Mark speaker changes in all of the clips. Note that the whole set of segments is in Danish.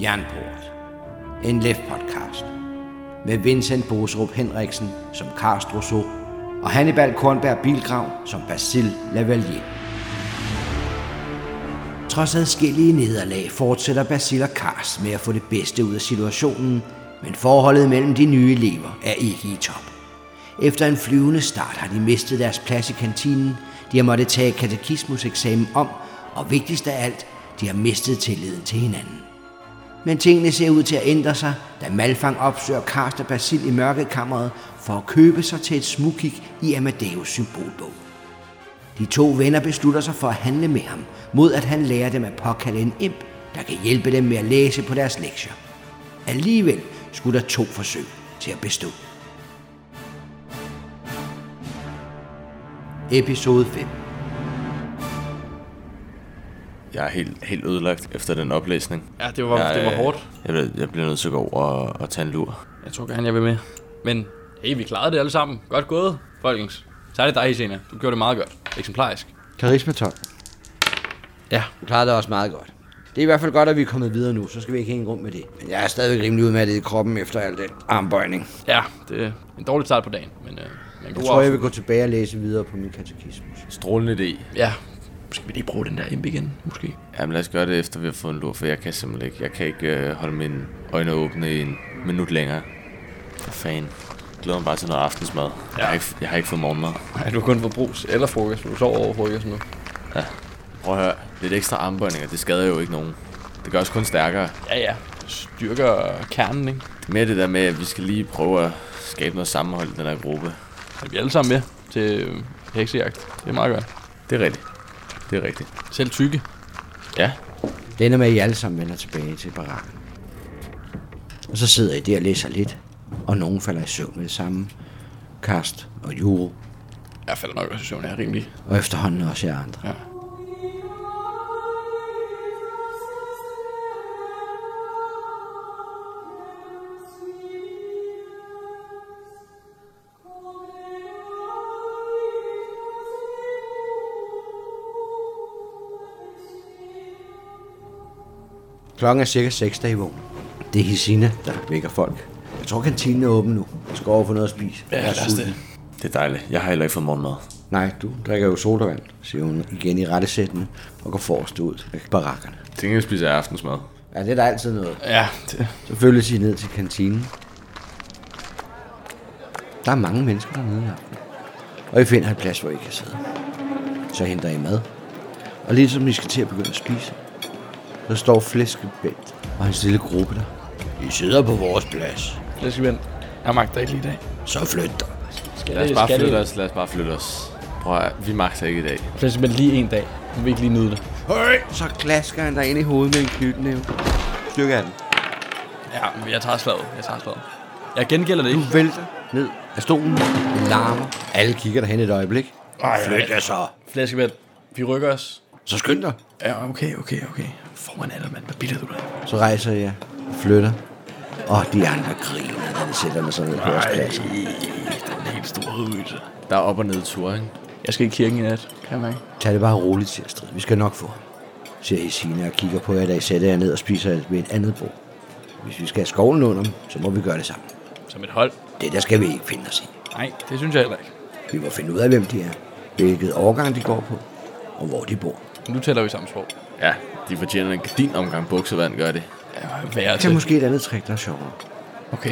Speaker 1: Jernportet. En LEF-podcast. Med Vincent Boserup Henriksen som Karst Rousseau og Hannibal Kornberg Bilgrav som Basil Lavalier. Trods adskillige nederlag fortsætter Basil og Karst med at få det bedste ud af situationen, men forholdet mellem de nye elever er ikke i top. Efter en flyvende start har de mistet deres plads i kantinen, de har måttet tage katekismuseksamen om, og vigtigst af alt, de har mistet tilliden til hinanden. Men tingene ser ud til at ændre sig, da Malfang opsøger Karst og Basil i mørkekammeret for at købe sig til et smukik i Amadeus symbolbog. De to venner beslutter sig for at handle med ham, mod at han lærer dem at påkalde en imp, der kan hjælpe dem med at læse på deres lektier. Alligevel skulle der to forsøg til at bestå. Episode 5
Speaker 2: Jeg er helt, helt ødelagt efter den oplæsning.
Speaker 3: Ja, det var,
Speaker 2: jeg,
Speaker 3: det var
Speaker 2: øh,
Speaker 3: hårdt.
Speaker 2: Jeg, bliver- jeg bliver nødt til at gå over og, og tage en lur.
Speaker 3: Jeg tror gerne, jeg vil med. Men hey, vi klarede det alle sammen. Godt gået, folkens. Så er det dig, Hesenia. Du gjorde det meget godt. Eksemplarisk.
Speaker 1: Karisma 12.
Speaker 3: Ja.
Speaker 1: Du klarede det også meget godt. Det er i hvert fald godt, at vi er kommet videre nu, så skal vi ikke hænge rum med det. Men jeg er stadigvæk rimelig udmattet i kroppen efter al den armbøjning.
Speaker 3: Ja, det er en dårlig start på dagen, men, øh, men god
Speaker 1: Jeg tror, jeg
Speaker 3: aften.
Speaker 1: vil gå tilbage og læse videre på min katekismus.
Speaker 2: Strålende idé.
Speaker 3: Ja. Skal vi lige bruge den der imp igen, måske?
Speaker 2: Jamen lad os gøre det efter vi har fået en lur, for jeg kan simpelthen ikke. Jeg kan ikke øh, holde mine øjne åbne i en minut længere. For fanden. Jeg glæder mig bare til noget aftensmad. Ja. Jeg, har ikke, jeg har ikke fået morgenmad.
Speaker 3: Nej, du har kun fået brus eller frokost. Du sover over frokosten nu.
Speaker 2: Prøv at høre. Lidt ekstra armbøjninger, det skader jo ikke nogen. Det gør os kun stærkere.
Speaker 3: Ja, ja. Styrker kernen, ikke?
Speaker 2: Det er mere det der med, at vi skal lige prøve at skabe noget sammenhold i den her gruppe.
Speaker 3: Så vi er alle sammen med til øh, heksejagt. Det er meget godt.
Speaker 2: Det er rigtigt. Det er rigtigt.
Speaker 3: Selv tykke.
Speaker 2: Ja.
Speaker 1: Det ender med, at I alle sammen vender tilbage til barakken. Og så sidder I der og læser lidt, og nogen falder i søvn med det samme. Karst og Juro,
Speaker 3: Jeg falder nok også i søvn, jeg er rimelig.
Speaker 1: og efterhånden også jer andre.
Speaker 3: Ja.
Speaker 1: Klokken er cirka 6, da I vågner. Det er Hisina, der vækker folk. Jeg tror, kantinen er åben nu. Jeg skal over for noget at spise. Jeg er sulten.
Speaker 2: Det er dejligt. Jeg har heller ikke fået morgenmad.
Speaker 1: Nej, du drikker jo sodavand, siger hun igen i rettesættende, og går forrest ud af barakkerne.
Speaker 2: Jeg tænker, jeg spiser aftensmad.
Speaker 1: Ja, det er der altid noget.
Speaker 3: Ja, det,
Speaker 1: Så følges I ned til kantinen. Der er mange mennesker dernede i aften. Og I finder et plads, hvor I kan sidde. Så henter I mad. Og lige som I skal til at begynde at spise, så står flæskebælt og hans lille gruppe der. I sidder på vores plads.
Speaker 3: det skal vi ind. Jeg magter ikke lige i dag.
Speaker 1: Så flyt dig.
Speaker 4: Skal
Speaker 2: Lad os
Speaker 4: det,
Speaker 2: bare
Speaker 4: skal
Speaker 2: flytte
Speaker 4: det,
Speaker 2: os, lad os bare flytte os. Prøv at, høre, vi magter ikke i dag.
Speaker 4: skal det, lige en dag. Vi vil ikke lige nyde det.
Speaker 1: Høj! Så klasker han dig ind i hovedet med en knytnæve. Stykke af den.
Speaker 3: Ja, men jeg tager slaget. Jeg tager slaget. Jeg gengælder det ikke.
Speaker 1: vælter ned af stolen. Det larmer. Alle kigger derhen et øjeblik. Ej, Flyt jer så.
Speaker 3: Flæskevand. Vi rykker os.
Speaker 1: Så skynd dig.
Speaker 3: Ja, okay, okay, okay. Får man alder, mand. Hvad bilder du dig?
Speaker 1: Så rejser jeg og flytter. Og de andre griner, når de sætter mig sådan ned på deres pladser.
Speaker 3: Den helt store udvidelse.
Speaker 2: Der er op- og nedture, ikke?
Speaker 3: Jeg skal i kirken i nat, kan jeg mærke.
Speaker 1: Tag det bare roligt, siger Astrid. Vi skal nok få ham. Siger Hesina og kigger på jer, da I sætter jer ned og spiser ved et andet bord. Hvis vi skal have skovlen under dem, så må vi gøre det sammen.
Speaker 3: Som et hold.
Speaker 1: Det der skal vi ikke finde os i.
Speaker 3: Nej, det synes jeg heller ikke.
Speaker 1: Vi må finde ud af, hvem de er, hvilket årgang de går på, og hvor de bor.
Speaker 3: Nu taler vi samme sprog.
Speaker 2: Ja, de fortjener en din omgang buksevand, gør det.
Speaker 3: Ja, hvad er
Speaker 1: Det er
Speaker 3: det?
Speaker 1: måske et andet trick, der er sjovere.
Speaker 3: Okay.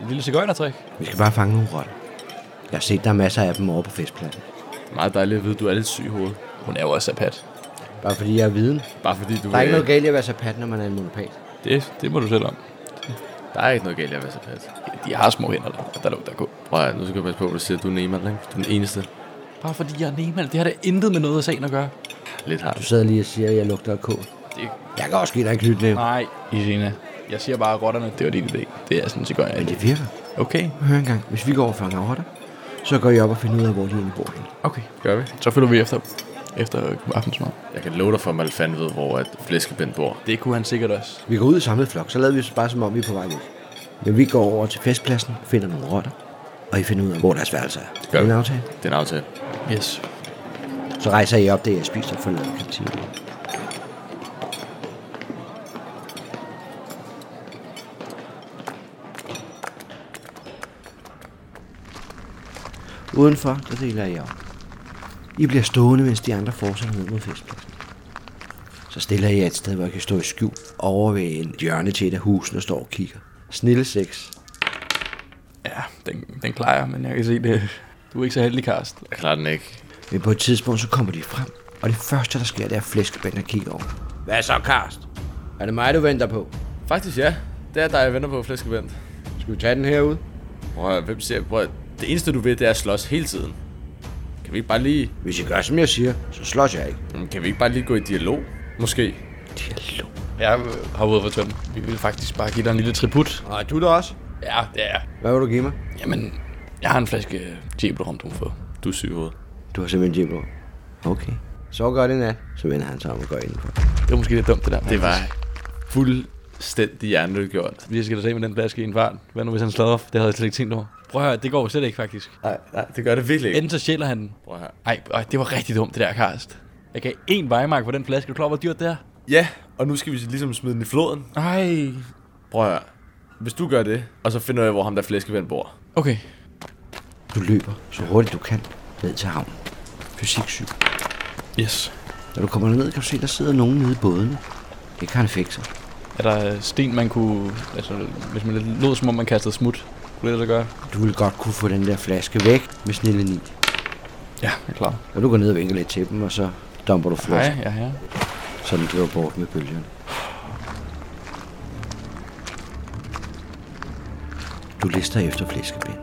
Speaker 3: En lille cigøjnertrik.
Speaker 1: Vi skal bare fange nogle rotter. Jeg har set, der er masser af dem over på festpladsen.
Speaker 2: Meget dejligt at vide, at du er lidt syg i hovedet.
Speaker 3: Hun er jo også sapat.
Speaker 1: Bare fordi jeg er viden.
Speaker 2: Bare fordi du...
Speaker 1: Der er ikke
Speaker 2: øh,
Speaker 1: noget galt i at være sapat, når man er en monopat.
Speaker 3: Det, det må du selv om.
Speaker 2: Der er ikke noget galt i at være så pæt.
Speaker 3: De har små hænder, der, der lugter gå.
Speaker 2: Prøv at, høre, nu skal jeg passe på, hvad du siger. Du er Neman, ikke? Du er den eneste.
Speaker 3: Bare fordi jeg er nemal. Det har da intet med noget af sagen at gøre.
Speaker 2: Lidt
Speaker 1: Du
Speaker 2: hardt.
Speaker 1: sidder lige og siger, at jeg lugter af kål.
Speaker 3: Det,
Speaker 1: Jeg kan også give dig en knytnæve.
Speaker 3: nej, Isina. Jeg siger bare, at rotterne, det var din idé. Det er sådan en cigøjner.
Speaker 1: Men det virker.
Speaker 3: Okay,
Speaker 1: Hør engang, hvis vi går over og fanger rotter, så går jeg op og finder ud af, hvor de egentlig bor henne.
Speaker 3: okay.
Speaker 2: Gør vi?
Speaker 3: Så følger vi efter, efter aftensmad.
Speaker 2: Jeg kan love dig for, at Malfan ved, hvor at flæskebind bor.
Speaker 3: Det kunne han sikkert også.
Speaker 1: Vi går ud i samlet flok, så lader vi os bare som om, vi er på vej væk. Men vi går over til festpladsen, finder nogle rotter, og I finder ud af, hvor deres værelse er.
Speaker 2: gør
Speaker 1: er
Speaker 2: vi.
Speaker 1: en aftale.
Speaker 2: Det er en aftale.
Speaker 3: Yes.
Speaker 1: Så rejser I op, det jeg spiser og forlader kantinen. Udenfor, der deler I om. I bliver stående, mens de andre fortsætter ned mod festpladsen. Så stiller I jer et sted, hvor I kan stå i skjul over ved en hjørne til et af husene og står og kigger. Snille sex.
Speaker 4: Ja, den, den klarer jeg, men jeg kan se det. Du er ikke så heldig, Karsten.
Speaker 2: Jeg klarer den ikke.
Speaker 1: Men på et tidspunkt, så kommer de frem, og det første, der sker, det er at flæskebænder kigger over. Hvad så, Karst? Er det mig, du venter på?
Speaker 2: Faktisk ja. Det er dig, jeg venter på, flæskevend.
Speaker 1: Skal vi tage den herude?
Speaker 2: Prøv at, hvem siger, prøv at, det eneste du ved, det er at slås hele tiden. Kan vi ikke bare lige,
Speaker 1: Hvis I gør, som jeg siger, så slås jeg ikke.
Speaker 2: Mm, kan vi ikke bare lige gå i dialog? Måske.
Speaker 1: Dialog.
Speaker 3: Jeg har ude for tømmen.
Speaker 4: Vi vil faktisk bare give dig en lille tribut.
Speaker 1: Og du der også?
Speaker 3: Ja, det er jeg.
Speaker 1: Hvad vil du give mig?
Speaker 3: Jamen, jeg har en flaske
Speaker 4: øh,
Speaker 3: Jeblerom, du har fået.
Speaker 2: Du er syg i hovedet.
Speaker 1: Du har simpelthen jævnt Okay. Så gør det nat. Så vender han sig om og går indenfor.
Speaker 4: Det var måske lidt dumt, det der.
Speaker 2: Det var fuldstændig hjernedgjort.
Speaker 4: Vi skal da se med den flaske i en fart. Hvad nu, hvis han slår op? Det havde jeg slet ikke tænkt over.
Speaker 3: Prøv at høre, det går jo slet ikke faktisk.
Speaker 2: Nej, nej, det gør det virkelig ikke.
Speaker 3: Enten så sjæler han den.
Speaker 2: Prøv her.
Speaker 3: Ej, øj, det var rigtig dumt det der, Karst. Jeg gav én vejmark for den flaske. Er Du klar, over, hvor dyrt det er?
Speaker 2: Ja, og nu skal vi ligesom smide den i floden.
Speaker 3: Ej.
Speaker 2: Prøv her. Hvis du gør det, og så finder jeg, hvor ham der flæskevend bor.
Speaker 3: Okay.
Speaker 1: Du løber så hurtigt du kan ned til havnen. Fysik 7.
Speaker 4: Yes.
Speaker 1: Når du kommer ned, kan du se, der sidder nogen nede i bådene. Det kan han fikse.
Speaker 4: Er der øh, sten, man kunne... Altså, hvis man lidt lod, som om man kastede smut. Kunne det lade sig gøre?
Speaker 1: Du vil godt kunne få den der flaske væk med snille ni.
Speaker 4: Ja, jeg er klar.
Speaker 1: Og du går ned og vinker lidt til dem, og så dumper du
Speaker 4: Nej,
Speaker 1: flaske,
Speaker 4: ja, ja.
Speaker 1: så den driver bort med bølgerne. Du lister efter flæskebind.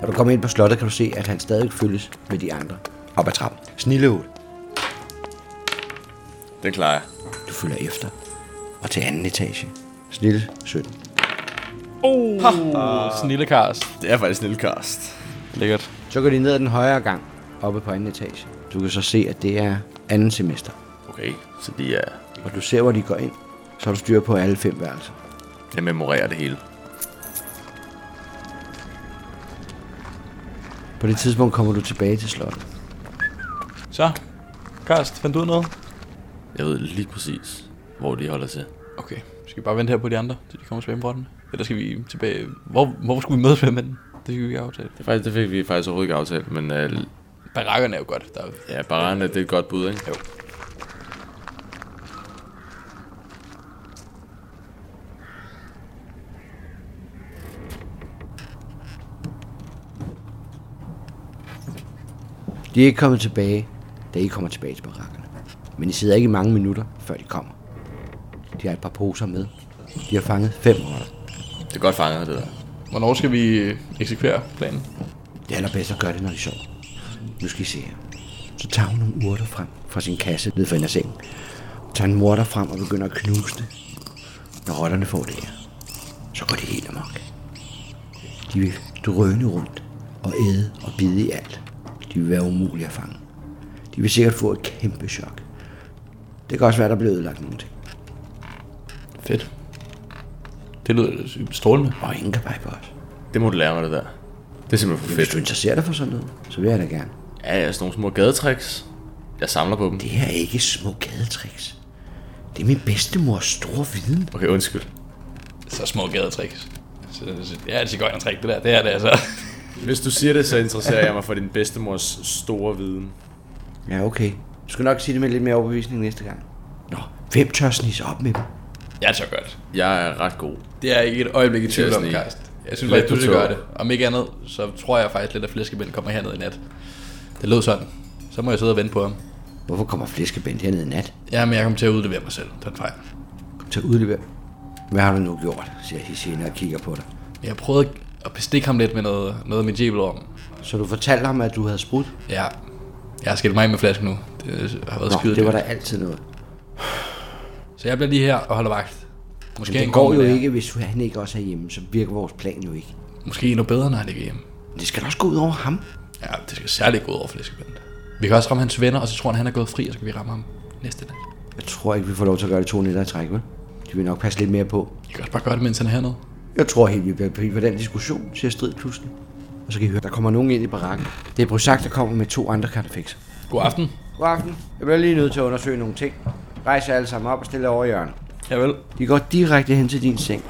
Speaker 1: Når du kommer ind på slottet, kan du se, at han stadig følges med de andre. Op ad trappen. Snilleål.
Speaker 2: Den klarer jeg.
Speaker 1: Du følger efter. Og til anden etage. Snille 17.
Speaker 4: Uh, snille Karst.
Speaker 2: Det er faktisk en lille karst.
Speaker 4: Lækkert.
Speaker 1: Så går de ned ad den højre gang, oppe på anden etage. Du kan så se, at det er anden semester.
Speaker 2: Okay, så de er...
Speaker 1: Og du ser, hvor de går ind. Så har du styr på alle fem værelser.
Speaker 2: Jeg memorerer det hele.
Speaker 1: På det tidspunkt kommer du tilbage til slottet.
Speaker 4: Så, Karst, fandt du ud af noget?
Speaker 2: Jeg ved lige præcis, hvor de holder til.
Speaker 4: Okay. Skal vi bare vente her på de andre, til de kommer tilbage med rotten? Eller skal vi tilbage... Hvor, hvor skulle vi mødes med manden? Det skal vi aftale.
Speaker 2: Det, er faktisk, det fik vi faktisk overhovedet ikke aftalt, men øh,
Speaker 4: Barakkerne er jo godt. Der er
Speaker 2: ja, Barana, det er et godt bud, ikke?
Speaker 4: Jo.
Speaker 1: De er ikke kommet tilbage, da I kommer tilbage til barakkerne. Men I sidder ikke i mange minutter, før de kommer. De har et par poser med. De har fanget fem rotter.
Speaker 2: Det er godt fanget, det der.
Speaker 4: Hvornår skal vi øh, eksekvere planen?
Speaker 1: Det er allerbedst at gøre det, når de sover. Nu skal I se her. Så tager hun nogle urter frem fra sin kasse ned for enden af sengen. Tager en morter frem og begynder at knuse det. Når rotterne får det her, så går det helt amok. De vil drøne rundt og æde og bide i alt. De vil være umulige at fange. De vil sikkert få et kæmpe chok. Det kan også være, der bliver ødelagt nogle ting.
Speaker 4: Fedt. Det lyder strålende.
Speaker 1: Og ingen kan pege på os.
Speaker 2: Det må du lære mig, det der. Det er simpelthen for
Speaker 1: Hvis
Speaker 2: fedt.
Speaker 1: du interesserer dig for sådan noget, så vil jeg da gerne.
Speaker 2: Ja, ja, sådan nogle små gadetricks. Jeg samler på dem.
Speaker 1: Det her er ikke små gadetricks. Det er min bedstemors store viden.
Speaker 2: Okay, undskyld.
Speaker 3: Så små gadetricks. Så, så, ja, det er godt en trick, det der. Det er det altså.
Speaker 2: Hvis du siger det, så interesserer jeg mig for din bedstemors store viden.
Speaker 1: Ja, okay. Du skal nok sige det med lidt mere overbevisning næste gang. Nå, hvem tør snige sig op med dem?
Speaker 3: Jeg tør godt.
Speaker 2: Jeg er ret god.
Speaker 3: Det er jeg ikke et øjeblik i tvivl om,
Speaker 2: sådan en-
Speaker 3: Karst. Jeg synes
Speaker 2: Lidt
Speaker 3: faktisk, du
Speaker 2: på
Speaker 3: skal gøre
Speaker 2: tå.
Speaker 3: det. Om ikke andet, så tror jeg faktisk lidt, at flæskebænd kommer herned i nat. Det lød sådan. Så må jeg sidde og vente på ham.
Speaker 1: Hvorfor kommer flæskebænd hernede i nat?
Speaker 3: Jamen, jeg kommer til at udlevere mig selv. Den fejl.
Speaker 1: Kom til at udlevere. Hvad har du nu gjort? siger Hisina og kigger på dig.
Speaker 3: Men jeg prøvede at bestikke ham lidt med noget, noget af mit jæbelorm.
Speaker 1: Så du fortalte ham, at du havde sprudt?
Speaker 3: Ja, jeg har skilt mig af med flasken nu. Det har været
Speaker 1: Nå,
Speaker 3: skidt.
Speaker 1: det var der altid noget.
Speaker 3: Så jeg bliver lige her og holder vagt. Måske
Speaker 1: Men
Speaker 3: han
Speaker 1: det går
Speaker 3: kommer
Speaker 1: jo
Speaker 3: der.
Speaker 1: ikke, hvis han ikke også er hjemme, så virker vores plan jo ikke.
Speaker 3: Måske endnu bedre, når han ikke er hjemme.
Speaker 1: Men det skal da også gå ud over ham.
Speaker 3: Ja, det skal særligt gå ud over flæskebændet. Vi kan også ramme hans venner, og så tror han, han er gået fri, og så kan vi ramme ham næste dag.
Speaker 1: Jeg tror ikke, vi får lov til at gøre det to nætter i træk, vel? De vil nok passe lidt mere på.
Speaker 3: Vi kan også bare gøre det, mens han er hernede.
Speaker 1: Jeg tror helt, vi bliver på den diskussion, siger Strid pludselig. Og så kan I høre, der kommer nogen ind i barakken. Det er Brusak, der kommer med to andre kartefixer.
Speaker 3: God aften.
Speaker 1: God aften. Jeg bliver lige nødt til at undersøge nogle ting. Rejs jer alle sammen op og stille jer over i hjørnet.
Speaker 4: Javel.
Speaker 1: De går direkte hen til din seng,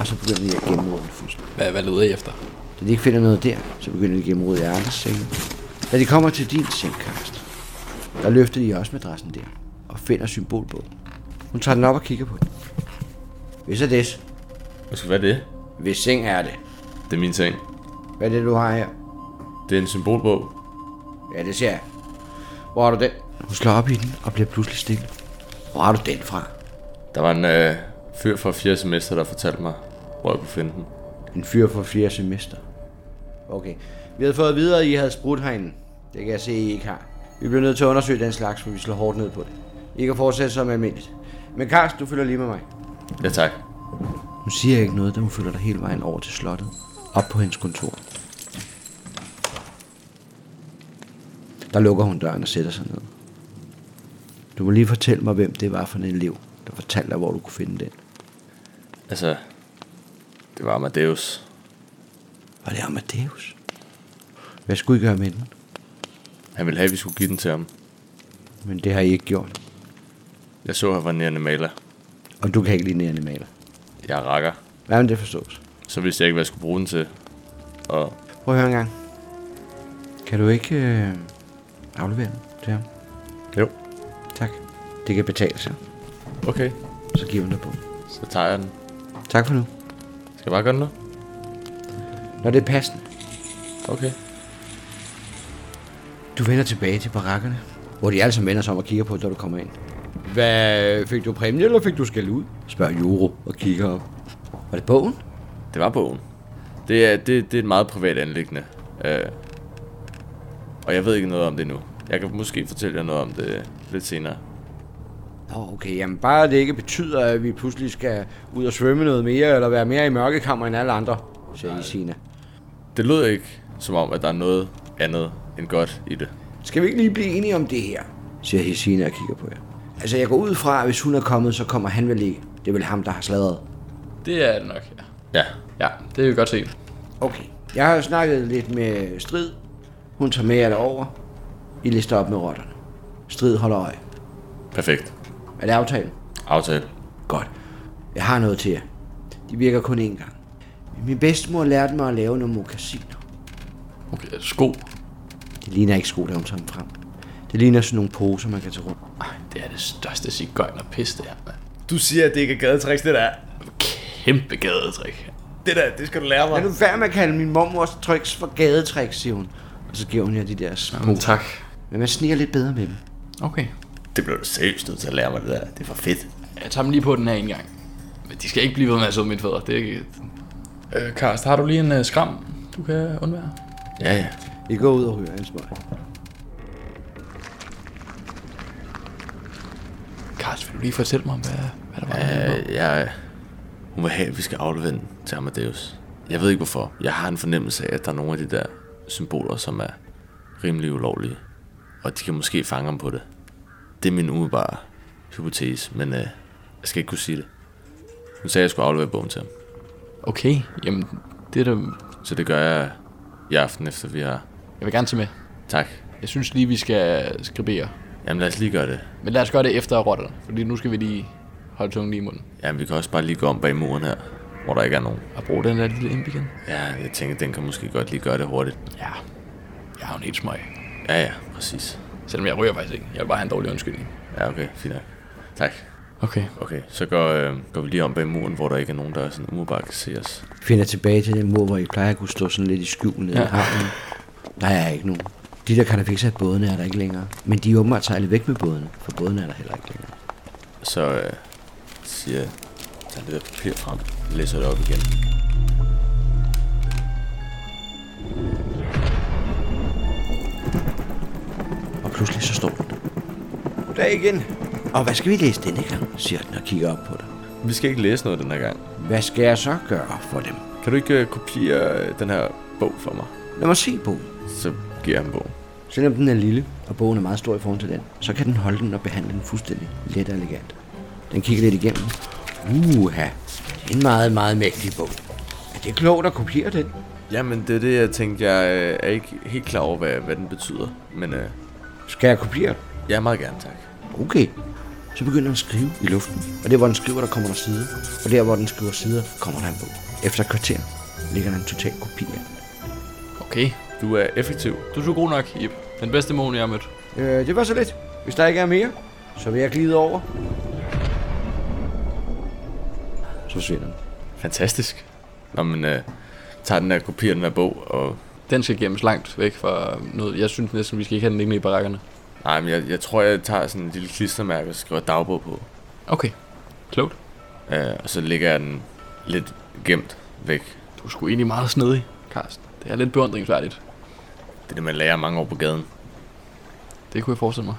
Speaker 1: og så begynder de at gennemråde den fuldstændig.
Speaker 3: Hvad, hvad leder I efter?
Speaker 1: Det Da de ikke finder noget der, så begynder de at gennemrode i andres senge. Da de kommer til din seng, Karsten, der løfter de også madrassen der og finder symbolbogen. Hun tager den op og kigger på den. Hvis er det,
Speaker 2: Hvad skal være det?
Speaker 1: hvis seng er det,
Speaker 2: Det er min ting.
Speaker 1: hvad er det, du har her?
Speaker 2: Det er en symbolbog.
Speaker 1: Ja, det ser jeg. Hvor har du den? Hun slår op i den og bliver pludselig stille. Hvor har du den fra?
Speaker 2: Der var en øh, fyr fra 4. semester, der fortalte mig, hvor jeg kunne finde den.
Speaker 1: En fyr fra fjerde semester. Okay. Vi havde fået at vide, at I havde sprudt herinde. Det kan jeg se, I ikke har. Vi bliver nødt til at undersøge den slags, for vi slår hårdt ned på det. I kan fortsætte som almindeligt. Men Karsten, du følger lige med mig.
Speaker 2: Ja, tak.
Speaker 1: Hun siger ikke noget, da hun følger dig hele vejen over til slottet. Op på hendes kontor. Der lukker hun døren og sætter sig ned. Du må lige fortælle mig, hvem det var for en elev, der fortalte dig, hvor du kunne finde den.
Speaker 2: Altså, det var Amadeus.
Speaker 1: Var det Amadeus? Hvad skulle I gøre med den?
Speaker 2: Han ville have, at vi skulle give den til ham.
Speaker 1: Men det har I ikke gjort.
Speaker 2: Jeg så, at han var nærende maler.
Speaker 1: Og du kan ikke lide animaler.
Speaker 2: Jeg er rakker.
Speaker 1: Hvad med det forstås?
Speaker 2: Så vidste jeg ikke, hvad jeg skulle bruge den til. Og
Speaker 1: Prøv at høre en gang. Kan du ikke øh, aflevere den til ham?
Speaker 2: jo,
Speaker 1: Tak. Det kan betale sig.
Speaker 2: okay.
Speaker 1: Så giver hun dig på.
Speaker 2: Så tager jeg den.
Speaker 1: Tak for nu.
Speaker 2: Skal jeg bare gøre den nu?
Speaker 1: Når det er passende.
Speaker 2: Okay.
Speaker 1: Du vender tilbage til barakkerne, hvor de alle sammen vender sig om og kigger på, når du kommer ind. Hvad, fik du præmie, eller fik du skal ud? Spørger Juro og kigger op. Var det bogen?
Speaker 2: Det var bogen. Det er, det, det er et meget privat anlæggende. Øh, og jeg ved ikke noget om det nu. Jeg kan måske fortælle jer noget om det lidt senere.
Speaker 1: Nå, okay, jamen bare det ikke betyder, at vi pludselig skal ud og svømme noget mere, eller være mere i mørkekammer end alle andre, siger Isina.
Speaker 2: Det lød ikke som om, at der er noget andet end godt i det.
Speaker 1: Skal vi ikke lige blive enige om det her? Siger Hesina og kigger på jer. Altså, jeg går ud fra, at hvis hun er kommet, så kommer han vel ikke. Det er vel ham, der har sladret.
Speaker 3: Det er det nok, ja.
Speaker 2: Ja,
Speaker 3: Ja, det vil vi godt se.
Speaker 1: Okay. Jeg har jo snakket lidt med Strid. Hun tager med jer derover. I lister op med rotterne. Strid holder øje.
Speaker 2: perfekt.
Speaker 1: Er det aftalen?
Speaker 2: Aftale.
Speaker 1: Godt. Jeg har noget til jer. De virker kun én gang. Min bedstemor lærte mig at lave nogle mokassiner.
Speaker 4: Okay, sko.
Speaker 1: Det ligner ikke sko, da hun tager dem frem. Det ligner sådan nogle poser, man kan tage rundt.
Speaker 4: Ej, det er det største cigøjn og pis, det her, mand.
Speaker 2: Du siger, at det ikke er gadetricks, det der.
Speaker 4: Kæmpe gadetrik.
Speaker 2: Det der, det skal du lære
Speaker 1: Er du færdig med at kalde min mormors tricks for gadetricks, siger hun. Og så giver hun jer de der små
Speaker 4: Men tak.
Speaker 1: Men man sniger lidt bedre med dem.
Speaker 4: Okay.
Speaker 2: Det bliver du seriøst nødt til at lære mig, det der. Det er for fedt.
Speaker 3: Jeg tager dem lige på den her en gang. Men de skal ikke blive ved med at sidde mine fødder. Det er ikke...
Speaker 4: Øh, Karst, har du lige en øh, skram, du kan undvære?
Speaker 2: Ja, ja.
Speaker 1: I går ud og hører en smøg.
Speaker 4: Karst, vil du lige fortælle mig, hvad, hvad der var?
Speaker 2: Øh, jeg... Hun vil have, at vi skal aflevere den til Amadeus. Jeg ved ikke hvorfor. Jeg har en fornemmelse af, at der er nogle af de der symboler, som er rimelig ulovlige. Og de kan måske fange ham på det. Det er min umiddelbare hypotese, men øh, jeg skal ikke kunne sige det. Hun sagde, at jeg skulle aflevere bogen til ham.
Speaker 4: Øh, Okay, jamen, det er da...
Speaker 2: Så det gør jeg i aften, efter vi har...
Speaker 4: Jeg vil gerne tage med.
Speaker 2: Tak.
Speaker 4: Jeg synes lige, vi skal skribere.
Speaker 2: Jamen lad os lige gøre det.
Speaker 4: Men lad os gøre det efter rotterne, fordi nu skal vi lige holde tungen lige i munden.
Speaker 2: Jamen vi kan også bare lige gå om bag muren her, hvor der ikke er nogen.
Speaker 4: Og bruge den der lille imp igen.
Speaker 2: Ja, jeg tænker, den kan måske godt lige gøre det hurtigt.
Speaker 4: Ja, jeg har jo en helt smøg.
Speaker 2: Ja, ja, præcis.
Speaker 4: Selvom jeg ryger faktisk ikke. Jeg vil bare have en dårlig undskyldning.
Speaker 2: Ja, okay, fint nok. Tak.
Speaker 4: Okay.
Speaker 2: Okay, så går, øh, går vi lige om bag muren, hvor der ikke er nogen, der sådan umiddelbart kan se os.
Speaker 1: Finder tilbage til den mur, hvor I plejer at kunne stå sådan lidt i skjul nede ja. i havnen. Der er ikke nogen. De der kartafixer af bådene er der ikke længere. Men de er åbenbart sejlet væk med bådene, for bådene er der heller ikke længere.
Speaker 2: Så øh, siger jeg, tager lidt af papir frem, læser det op igen.
Speaker 1: Og pludselig så står den. Der igen. Og hvad skal vi læse denne gang, siger den og kigger op på dig.
Speaker 2: Vi skal ikke læse noget den her gang.
Speaker 1: Hvad skal jeg så gøre for dem?
Speaker 2: Kan du ikke øh, kopiere øh, den her bog for mig?
Speaker 1: Lad mig se bogen.
Speaker 2: Så giver jeg ham bogen.
Speaker 1: Selvom den er lille, og bogen er meget stor i forhold til den, så kan den holde den og behandle den fuldstændig let og elegant. Den kigger lidt igennem. Uha, det er en meget, meget mægtig bog. Er det klogt at kopiere den?
Speaker 2: Jamen, det er det, jeg tænkte. Jeg øh, er ikke helt klar over, hvad, hvad den betyder. Men øh,
Speaker 1: Skal jeg kopiere den?
Speaker 2: jeg er meget gerne, tak.
Speaker 1: Okay. Så begynder den at skrive i luften. Og der, hvor den skriver, der kommer der sider. Og der, hvor den skriver sider, kommer der en bog. Efter et kvarter ligger der en total kopi af den.
Speaker 3: Okay,
Speaker 2: Du er effektiv.
Speaker 3: du er så god nok, Ip. Den bedste måne, jeg har mødt.
Speaker 1: Øh, det var så lidt. Hvis der ikke er mere, så vil jeg glide over. Så forsvinder den.
Speaker 2: Fantastisk. Nå, men øh, tager den der kopi af den der bog, og...
Speaker 3: Den skal gemmes langt væk fra noget. Jeg synes næsten, vi skal ikke have den liggende i barakkerne.
Speaker 2: Nej, men jeg, jeg tror, jeg tager sådan en lille klistermærke og skriver dagbog på.
Speaker 3: Okay. Klogt.
Speaker 2: Øh, og så lægger jeg den lidt gemt væk.
Speaker 3: Du er sgu egentlig meget snedig, Karsten. Det er lidt beundringsværdigt.
Speaker 2: Det er det, man lærer mange år på gaden.
Speaker 3: Det kunne jeg forestille mig.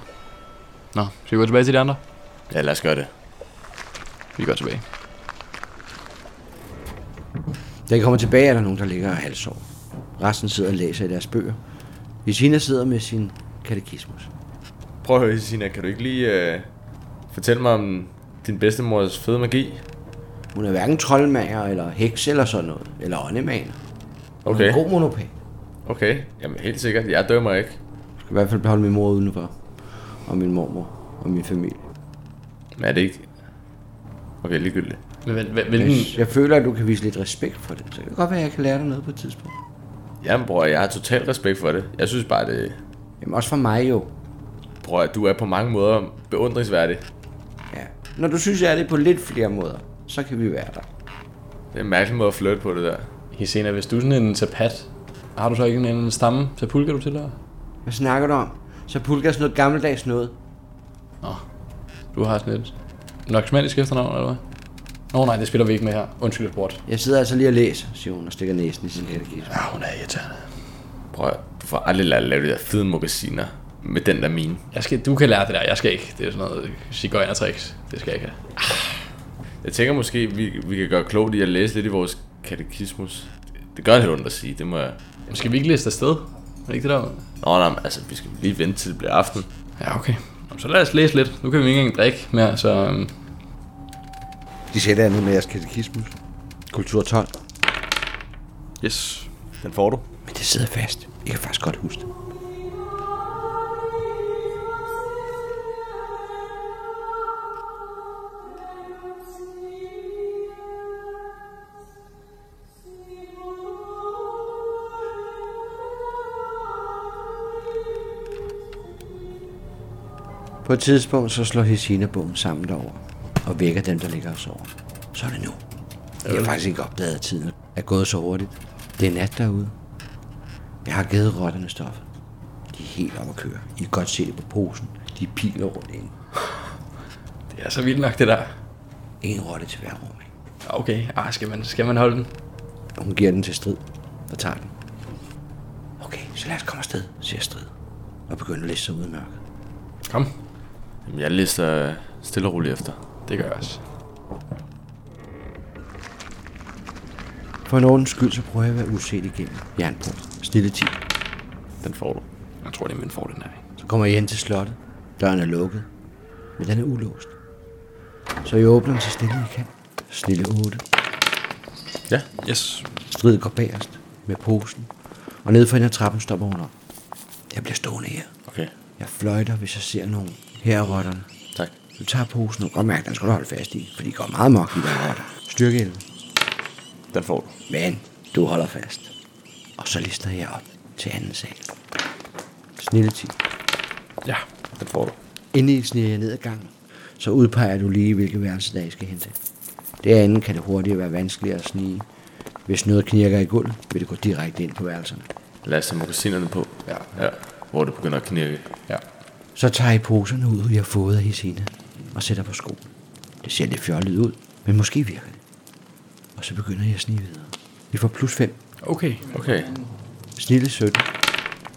Speaker 3: Nå, skal vi gå tilbage til de andre?
Speaker 2: Ja, lad os gøre det.
Speaker 3: Vi går tilbage.
Speaker 1: Da jeg kommer tilbage, er der nogen, der ligger og halsår. Resten sidder og læser i deres bøger. Lisina sidder med sin katekismus.
Speaker 2: Prøv at høre, Sina, kan du ikke lige øh, fortælle mig om din bedstemors fede magi?
Speaker 1: Hun er hverken troldmager, eller heks, eller sådan noget. Eller åndemager. Hun er
Speaker 2: Okay,
Speaker 1: en god monopat.
Speaker 2: okay. Jamen helt sikkert, jeg dømmer ikke.
Speaker 1: Jeg skal i hvert fald beholde min mor udenfor. Og min mormor. Og min familie.
Speaker 2: Men er det ikke... Okay, ligegyldigt.
Speaker 3: Men hvil- hvil-
Speaker 1: Jeg,
Speaker 3: hvilken...
Speaker 1: jeg føler, at du kan vise lidt respekt for det. Så det kan godt være, at jeg kan lære dig noget på et tidspunkt.
Speaker 2: Jamen bror, jeg har total respekt for det. Jeg synes bare, det...
Speaker 1: Jamen også for mig jo.
Speaker 2: Bror, at du er på mange måder beundringsværdig.
Speaker 1: Ja. Når du synes, jeg er det på lidt flere måder, så kan vi være der.
Speaker 2: Det er en mærkelig måde at flytte på det der.
Speaker 3: Hisena, hvis du er sådan en tapat, har du så ikke en anden stamme? Så pulker du til dig?
Speaker 1: Hvad snakker du om? Så pulker sådan noget gammeldags noget.
Speaker 3: Du har sådan et noksmanisk efternavn, eller hvad? Nå nej, det spiller vi ikke med her. Undskyld, jeg spurgte.
Speaker 1: Jeg sidder altså lige og læser, siger hun og stikker næsen i sin katekismus.
Speaker 3: Ja, hun er irriterende.
Speaker 2: Prøv at- du får aldrig lært at lave de der fede mokassiner med den der mine.
Speaker 3: Jeg skal, du kan lære det der, jeg skal ikke. Det er sådan noget cigøjner tricks. Det skal jeg ikke have.
Speaker 2: Jeg tænker måske, vi, vi kan gøre klogt i at læse lidt i vores katekismus. Det, det gør lidt ondt at sige, det må jeg...
Speaker 3: Skal vi ikke læse afsted? Er det ikke det der?
Speaker 2: Nå, nej, men altså, vi skal lige vente til det bliver aften.
Speaker 3: Ja, okay. Nå, Så lad os læse lidt. Nu kan vi ikke engang drikke mere, så... øhm,
Speaker 1: De sætter jer ned med jeres katekismus. Kultur 12.
Speaker 4: Yes.
Speaker 2: Den får du.
Speaker 1: Men det sidder fast. Jeg kan faktisk godt huske det. På et tidspunkt så slår Hesina bogen sammen derover og vækker dem, der ligger og sover. Så er det nu. Jeg har faktisk ikke opdaget, at tiden er gået så hurtigt. Det er nat derude. Jeg har givet rotterne stoffet. De er helt om at køre. I kan godt se det på posen. De piler rundt ind.
Speaker 3: Det er så vildt nok, det der.
Speaker 1: En rotte til hver rum. ikke?
Speaker 3: Ja, Okay, ah, skal, man, skal man holde den?
Speaker 1: Og Hun giver den til strid og tager den. Okay, så lad os komme afsted, siger strid. Og begynder at læse sig ud i mørket.
Speaker 3: Kom.
Speaker 2: Jamen, jeg læser øh, stille og roligt efter.
Speaker 3: Det gør jeg også.
Speaker 1: For en ordens skyld, så prøver jeg at være uset igennem. Jernbro. Stille tid.
Speaker 2: Den får du.
Speaker 3: Jeg tror, det er min fordel, den her. ikke?
Speaker 1: Så kommer jeg hen til slottet. Døren er lukket. Men den er ulåst. Så jeg åbner den så stille jeg kan. Snille 8.
Speaker 2: Ja.
Speaker 4: Yes.
Speaker 1: Strid går bagerst med posen, og ned for en af trappen stopper hun op. Jeg bliver stående her.
Speaker 2: Okay,
Speaker 1: Jeg fløjter, hvis jeg ser nogen. Her er rotterne.
Speaker 2: tak.
Speaker 1: Du tager posen og godt mærke, den skal du holde fast i, for de går meget mok i der rotter. Styrke 11.
Speaker 2: Den får du.
Speaker 1: Men du holder fast. Og så lister jeg op til anden sal. Snille tid.
Speaker 3: Ja.
Speaker 2: Den får du.
Speaker 1: Inden I sniger jer ned ad gangen, så udpeger du lige, hvilke værelse der I skal hen til. Derinde kan det hurtigt være vanskeligere at snige. Hvis noget knirker i gulvet, vil det gå direkte ind på værelserne.
Speaker 2: Lad os tage mokasinerne på.
Speaker 3: Ja.
Speaker 2: ja. Hvor det begynder at knirke.
Speaker 3: Ja.
Speaker 1: Så tager I poserne ud, I har fået af Hesina, og sætter på skoen. Det ser lidt fjollet ud, men måske virker det. Og så begynder jeg at snige videre. Vi får plus 5.
Speaker 3: Okay.
Speaker 2: Okay,
Speaker 1: Snille 17.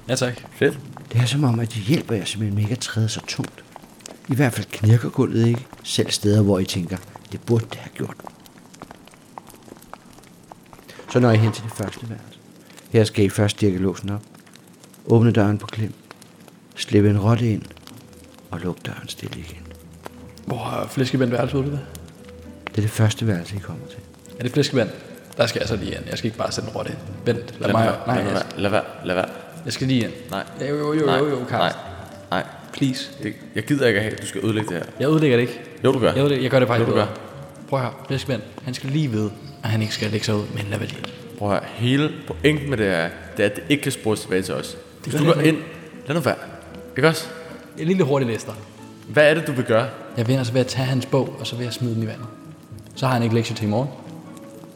Speaker 3: Ja, tak.
Speaker 2: fedt.
Speaker 1: Det er som om, at de hjælper jer simpelthen med ikke at træde så tungt. I hvert fald knirker gulvet ikke. Selv steder, hvor I tænker, det burde det have gjort. Så når I hen til det første værelse. Her skal I først dirke låsen op. Åbne døren på klem. Slippe en rotte ind. Og luk døren stille igen.
Speaker 3: Hvor har flæskebænd værelse ude ved?
Speaker 1: Det er det første værelse, I kommer til.
Speaker 3: Er det flæskebænd? Der skal jeg så lige ind. Jeg skal ikke bare sætte en rotte ind. Vent, lad
Speaker 2: Lad,
Speaker 3: mig...
Speaker 2: være,
Speaker 3: Nej,
Speaker 2: lad,
Speaker 3: jeg,
Speaker 2: være, lad være, lad være.
Speaker 3: jeg skal lige ind.
Speaker 2: Nej.
Speaker 3: Jo, jo, jo, jo, jo,
Speaker 2: Nej,
Speaker 3: Karsten.
Speaker 2: nej.
Speaker 3: Please.
Speaker 2: Det, jeg gider ikke at have, du skal ødelægge det her.
Speaker 3: Jeg udlægger det ikke.
Speaker 2: Jo, du gør.
Speaker 3: Jeg, udlægger, jeg gør det faktisk
Speaker 2: Jo, du
Speaker 3: bedre. Prøv her. Flæskebænd, han skal lige vide, at han ikke skal lægge sig ud, men lad være lige.
Speaker 2: Prøv at høre, hele pointen med det er, det er, at det ikke kan spores tilbage til os. Hvis du går ind, lad nu være. Ikke også?
Speaker 3: En lille hurtig læster.
Speaker 2: Hvad er det, du vil gøre?
Speaker 3: Jeg vil altså ved at tage hans bog, og så vil jeg smide den i vandet. Så har han ikke lektier til i morgen.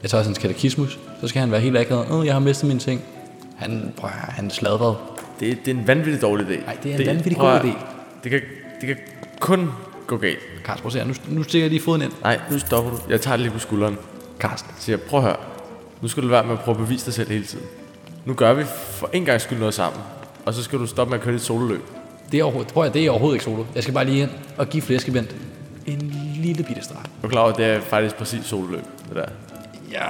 Speaker 3: Jeg tager også hans katekismus. Så skal han være helt akavet. Åh, jeg har mistet mine ting. Han, prøv, at høre, han sladrede.
Speaker 2: Det, det er en vanvittig dårlig idé.
Speaker 3: Ej, det er en vanvittig
Speaker 2: prøv
Speaker 3: god
Speaker 2: at- Det kan, det kan kun gå galt.
Speaker 3: Karsten, prøv at se her. Nu, nu stikker jeg lige foden ind.
Speaker 2: Nej, nu stopper du. Jeg tager det lige på skulderen.
Speaker 3: Karsten.
Speaker 2: siger, prøv at høre, nu skal du lade være med at prøve at bevise dig selv hele tiden. Nu gør vi for en gang skyld noget sammen, og så skal du stoppe med at køre dit sololøb.
Speaker 3: Det er overhovedet, prøv at, høre, det er overhovedet ikke solo. Jeg skal bare lige ind og give flæskebent en lille bitte straf.
Speaker 2: Du er klar over, at det er faktisk præcis sololøb, det der.
Speaker 3: Ja,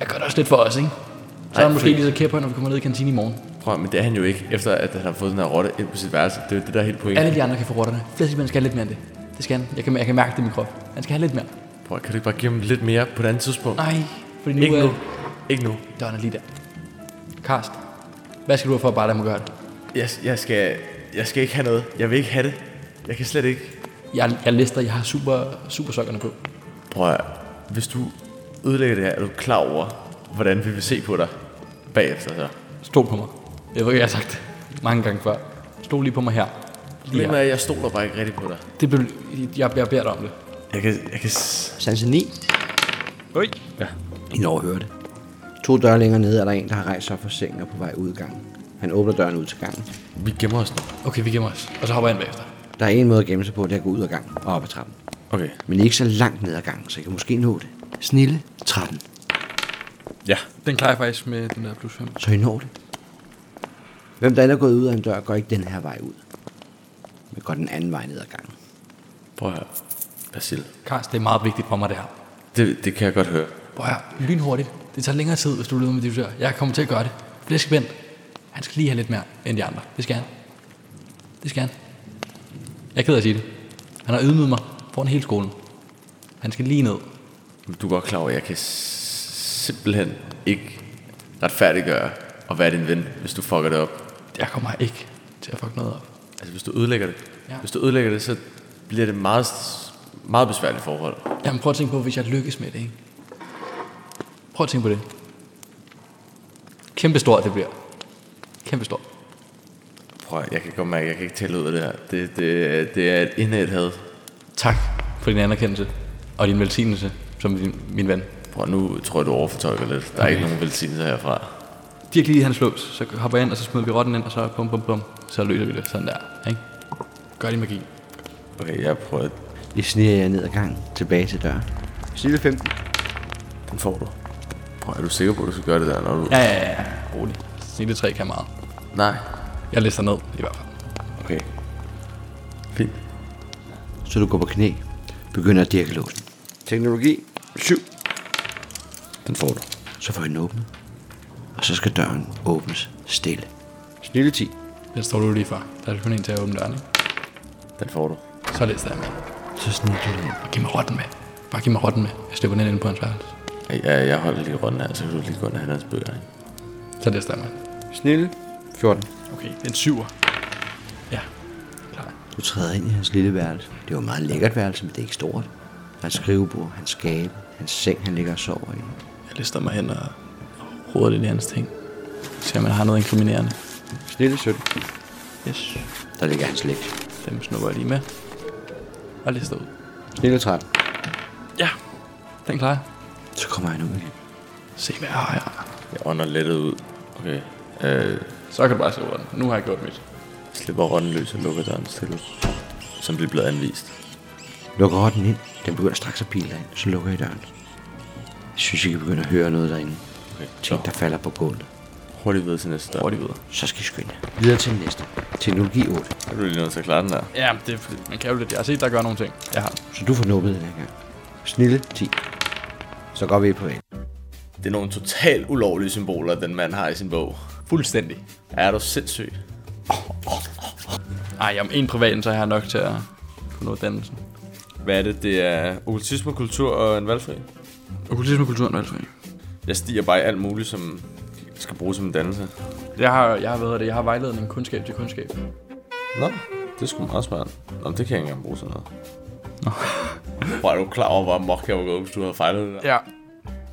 Speaker 3: jeg gør det også lidt for os, ikke? Så er
Speaker 2: Ej,
Speaker 3: han måske
Speaker 2: fordi-
Speaker 3: lige så kæp på, når vi kommer ned i kantinen i morgen.
Speaker 2: Prøv at, men det er han jo ikke, efter at han har fået den her rotte ind på sit værelse. Det er jo det, der er helt pointen.
Speaker 3: Alle de andre kan få rotterne. Flæskebent skal have lidt mere end det. Det skal han. Jeg kan, jeg kan mærke det i min krop. Han skal have lidt mere.
Speaker 2: Prøv at, kan du ikke bare give ham lidt mere på et andet tidspunkt?
Speaker 3: Nej, fordi Ah, nu
Speaker 2: ikke
Speaker 3: er
Speaker 2: nu. Ikke nu.
Speaker 3: døren er lige der. Karsten, hvad skal du have for at bare lade mig gøre det?
Speaker 2: Jeg, jeg, skal, jeg skal ikke have noget. Jeg vil ikke have det. Jeg kan slet ikke.
Speaker 3: Jeg, jeg lister, jeg har super, super sokkerne på.
Speaker 2: Prøv at, hvis du ødelægger det her, er du klar over, hvordan vi vil se på dig bagefter så?
Speaker 3: Stol på mig. Jeg ved ikke, jeg har sagt det mange gange før. Stol lige på mig her. Lige
Speaker 2: Problemet
Speaker 3: her.
Speaker 2: er, at øh, jeg stoler bare ikke rigtigt på dig.
Speaker 3: Det blev, jeg, jeg beder dig om det.
Speaker 2: Jeg kan, jeg kan s-
Speaker 1: Sanse 9.
Speaker 5: Øj.
Speaker 1: I når hører det. To døre længere nede er der en, der har rejst sig op fra sengen og er på vej ud i gangen. Han åbner døren ud til gangen.
Speaker 2: Vi gemmer os nu.
Speaker 3: Okay, vi gemmer os. Og så hopper jeg ind bagefter.
Speaker 1: Der er en måde at gemme sig på, det er at gå ud af gangen og op ad trappen.
Speaker 2: Okay.
Speaker 1: Men ikke så langt ned ad gangen, så jeg kan måske nå det. Snille 13.
Speaker 2: Ja.
Speaker 6: Den klarer jeg faktisk med den der plus 5.
Speaker 1: Så I når det. Hvem der end er gået ud af en dør, går ikke den her vej ud. Men går den anden vej ned ad gangen.
Speaker 2: Prøv at høre. Basil.
Speaker 3: Karsten, det er meget vigtigt for mig, det her.
Speaker 2: Det, det kan jeg godt høre.
Speaker 3: Prøv her, lynhurtigt. Det tager længere tid, hvis du leder med de dør. Jeg kommer til at gøre det. Flæskebent, han skal lige have lidt mere end de andre. Det skal han. Det skal han. Jeg er ked af at sige det. Han har ydmyget mig foran hele skolen. Han skal lige ned.
Speaker 2: Men Du er godt klar over, at jeg kan s- simpelthen ikke retfærdiggøre at være din ven, hvis du fucker det op.
Speaker 3: Jeg kommer ikke til at fuck noget op.
Speaker 2: Altså, hvis du ødelægger det.
Speaker 3: Ja.
Speaker 2: Ja. Hvis du ødelægger det, så bliver det meget, s- meget besværligt forhold.
Speaker 3: Jamen prøv at tænke på, hvis jeg lykkes med det, ikke? Prøv at tænke på det. Kæmpe stort det bliver. Kæmpe stort.
Speaker 2: Prøv at, jeg kan godt mærke, at jeg kan ikke tale ud af det her. Det, det, det er et indad had.
Speaker 3: Tak for din anerkendelse og din velsignelse som din, min ven.
Speaker 2: Prøv at, nu tror jeg, du overfortolker lidt. Der er ikke nogen velsignelse herfra.
Speaker 6: Dirk lige i hans lås, så hopper jeg ind, og så smider vi rotten ind, og så bum bum bum.
Speaker 3: Så løser vi det sådan der, ikke? Gør din magi.
Speaker 2: Okay, jeg prøver at...
Speaker 1: I sniger jer ned ad gangen, tilbage til døren. Snille 15.
Speaker 2: Den får du. Prøv, at, er du sikker på, at du skal gøre det der, når du...
Speaker 3: Ja, ja, ja, ja. Rolig. Snille 3 kan meget.
Speaker 2: Nej.
Speaker 3: Jeg lister ned, i hvert fald.
Speaker 2: Okay. Fint.
Speaker 1: Så du går på knæ, begynder at dirke låsen. Teknologi 7.
Speaker 2: Den får du.
Speaker 1: Så får I den åbnet. Og så skal døren åbnes stille. Snille 10.
Speaker 3: Det står du lige for. Der er kun en til at åbne døren, ikke?
Speaker 2: Den får du.
Speaker 3: Så lister jeg med.
Speaker 1: Så sniger du den.
Speaker 3: Giv mig rotten med. Bare giv mig rotten med. Jeg slipper den ind på hans værelse.
Speaker 2: Ja, jeg holder lige rundt her, så kan du lige gå ind og hente hans bøger. Ikke?
Speaker 3: Så lister jeg med.
Speaker 1: Snille 14.
Speaker 3: Okay, en syver. Ja, klar.
Speaker 1: Du træder ind i hans lille værelse. Det er jo et meget lækkert værelse, men det er ikke stort. Hans skrivebord, hans skabe, hans seng, han ligger og sover i.
Speaker 3: Jeg lister mig hen og roder lidt i hans ting. Se om han har noget inkriminerende.
Speaker 1: Snille 17.
Speaker 3: Yes.
Speaker 1: Der ligger hans lægt.
Speaker 3: Dem snupper jeg lige med. Og lister ud.
Speaker 1: Snille 13.
Speaker 3: Ja, den klarer jeg.
Speaker 1: Så kommer han ud igen.
Speaker 3: Se hvad jeg har her.
Speaker 2: Jeg ånder lettet ud. Okay. Øh,
Speaker 3: Så kan du bare se rotten. Nu har jeg gjort mit.
Speaker 2: slipper rotten løs og lukker døren stille. Som det er blevet anvist.
Speaker 1: Lukker rotten ind. Den begynder straks at pile derind. Så lukker I døren. Jeg synes, I kan begynde at høre noget derinde.
Speaker 2: Okay. Så
Speaker 1: Ting, der falder på gulvet.
Speaker 2: hurtigt videre til næste dør. Hurtigt videre.
Speaker 1: Så skal I skynde jer. Videre til den næste. Teknologi 8.
Speaker 2: Er du lige nødt til at klare den der?
Speaker 6: Ja, det er fordi, man kan jo lidt. Jeg har set, der gør nogle ting. Jeg har.
Speaker 1: Så du får nubbet den her gang. Snille 10. Så går vi på vej.
Speaker 2: Det er nogle totalt ulovlige symboler, den mand har i sin bog.
Speaker 6: Fuldstændig.
Speaker 2: Er du sindssyg?
Speaker 6: Ej, om en privaten, så har jeg nok til at kunne nå dannelsen.
Speaker 2: Hvad er det? Det er okkultisme, kultur og en valgfri.
Speaker 6: Okkultisme og kulturen, altså.
Speaker 2: Jeg stiger bare i alt muligt, som skal bruges som en dannelse.
Speaker 6: Jeg har, jeg har, hvad hedder det, jeg har vejledning kundskab til kundskab.
Speaker 2: Nå, det er sgu meget smart. Nå, men det kan jeg ikke engang bruge sådan noget. Nå. Prøv, er du klar over, hvor mok jeg var gået, hvis du havde fejlet det der?
Speaker 6: Ja.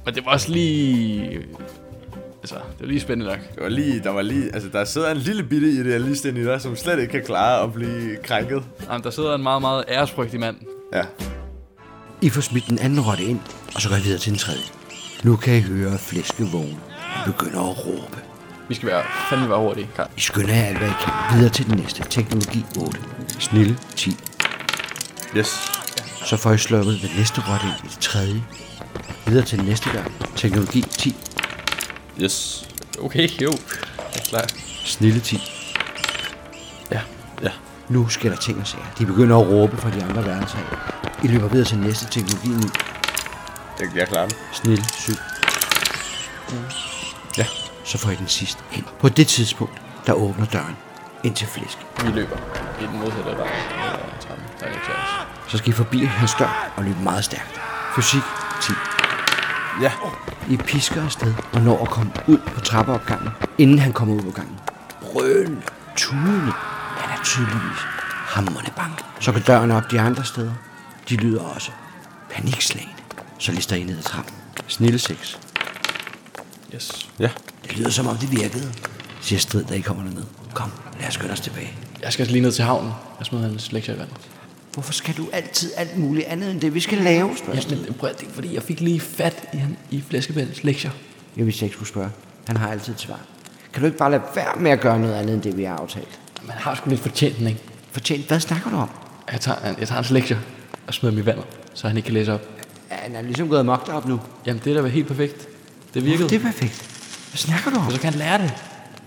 Speaker 3: Men det var også lige... Altså, det var lige spændende nok.
Speaker 7: Det var lige, der var lige, altså der sidder en lille bitte idealist inde i dig, som slet ikke kan klare at blive krænket.
Speaker 3: Jamen, der sidder en meget, meget æresfrygtig mand.
Speaker 7: Ja.
Speaker 1: I får smidt den anden rotte ind, og så går I videre til den tredje. Nu kan I høre flæskevognen begynder at råbe.
Speaker 3: Vi skal være, fandme være hurtige, Karl.
Speaker 1: I skynder jer alt, hvad I kan. Videre til den næste. Teknologi 8. Snille 10.
Speaker 7: Yes.
Speaker 1: Så får I sluppet den næste rotte ind i det tredje. Videre til den næste gang. Teknologi 10.
Speaker 7: Yes.
Speaker 3: Okay, jo. Jeg er klar.
Speaker 1: Snille 10.
Speaker 7: Ja. Ja.
Speaker 1: Nu sker der ting og sager. De begynder at råbe fra de andre værelser. af. I løber videre til den næste teknologi 9.
Speaker 7: Jeg, jeg klarer den.
Speaker 1: Snille 7. Ja, så får I den sidste ind. På det tidspunkt, der åbner døren ind til flæsk.
Speaker 3: Vi løber. I den modsatte vej. af trappen. Der er ikke til os.
Speaker 1: Så skal I forbi hans dør og løbe meget stærkt. Fysik 10.
Speaker 7: Ja.
Speaker 1: I pisker afsted og når at komme ud på trappeopgangen, inden han kommer ud på gangen. Brølende, tudende. Han er tydeligvis hammerne bank. Så går døren op de andre steder. De lyder også panikslagende. Så lister I ned ad trappen. Snille 6.
Speaker 3: Yes.
Speaker 7: Ja.
Speaker 1: Det lyder som om det virkede, siger Strid, da I kommer derned. Kom, lad os skynde os tilbage.
Speaker 8: Jeg skal altså lige ned til havnen. Jeg smider hans lektier i vandet.
Speaker 1: Hvorfor skal du altid alt muligt andet end det, vi skal lave, spørger Strid.
Speaker 8: Men prøv at det er fordi jeg fik lige fat i, han, i flæskebælens lektier.
Speaker 1: Jeg vidste, jeg ikke skulle spørge. Han har altid et svar. Kan du ikke bare lade være med at gøre noget andet end det, vi har aftalt?
Speaker 8: Man har sgu lidt fortjent den, ikke?
Speaker 1: Fortjent, hvad snakker du om?
Speaker 8: Jeg tager, jeg tager hans lektier og smider dem i vandet, så han ikke kan læse op.
Speaker 1: Ja, Han er ligesom gået mocked op nu.
Speaker 8: Jamen, det der var helt perfekt. Det virkede.
Speaker 1: Det er perfekt. Hvad snakker du om?
Speaker 8: Og så kan han lære det.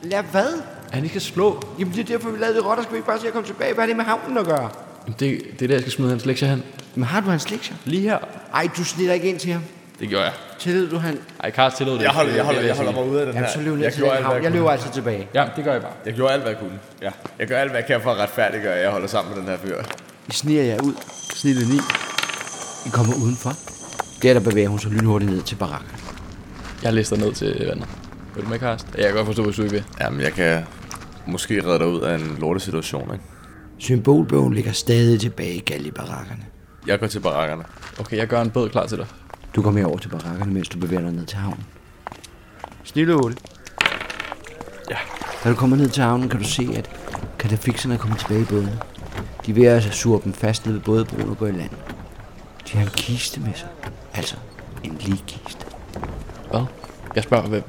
Speaker 1: Lad hvad?
Speaker 8: At han ikke skal slå.
Speaker 1: Jamen det er derfor, vi lavede det rotter. Skal vi ikke bare se at komme tilbage? Hvad er det med havnen at gøre?
Speaker 8: Jamen, det, det er der, jeg skal smide hans lektier hen.
Speaker 1: Men har du hans lektier?
Speaker 8: Lige her.
Speaker 1: Ej, du snitter ikke ind til ham.
Speaker 3: Det gjorde jeg.
Speaker 1: Tillid du han?
Speaker 3: Ej, Karls tillod det.
Speaker 7: Jeg holder,
Speaker 3: Det-
Speaker 7: jeg
Speaker 3: det
Speaker 7: holder,
Speaker 3: vil
Speaker 7: jeg holder
Speaker 3: sige.
Speaker 7: mig ude af den
Speaker 1: Jamen
Speaker 7: her.
Speaker 1: så løb ned
Speaker 7: jeg
Speaker 1: til den
Speaker 7: hvad
Speaker 1: havn. Jeg
Speaker 7: kunne.
Speaker 1: løber altså tilbage.
Speaker 3: Ja, det gør jeg bare.
Speaker 7: Jeg gjorde alt, hvad jeg kunne. Ja. Jeg gør alt, hvad jeg kan for at retfærdiggøre, at jeg holder sammen med den her fyr.
Speaker 1: I sniger jer ud. Snille 9. I kommer udenfor. Der, der bevæger hun sig lynhurtigt ned til barakken.
Speaker 4: Jeg læste ned til vandet. Vil du med, Karst? Ja, jeg kan godt forstå, hvad du ikke vil.
Speaker 2: Jamen, jeg kan måske redde dig ud af en lortesituation, ikke?
Speaker 1: Symbolbogen ligger stadig tilbage i galgebarakkerne.
Speaker 2: Jeg går til barakkerne.
Speaker 4: Okay, jeg gør en båd klar til dig.
Speaker 1: Du kommer herover til barakkerne, mens du bevæger dig ned til havnen. Snille 8. Ja. Da du kommer ned til havnen, kan du se, at katafixerne er kommet tilbage i båden. De er ved at sure dem fast ned ved bådebroen og gå i land. De har en kiste med sig. Altså, en lige kiste.
Speaker 4: Hvad? Jeg spørger, hvad...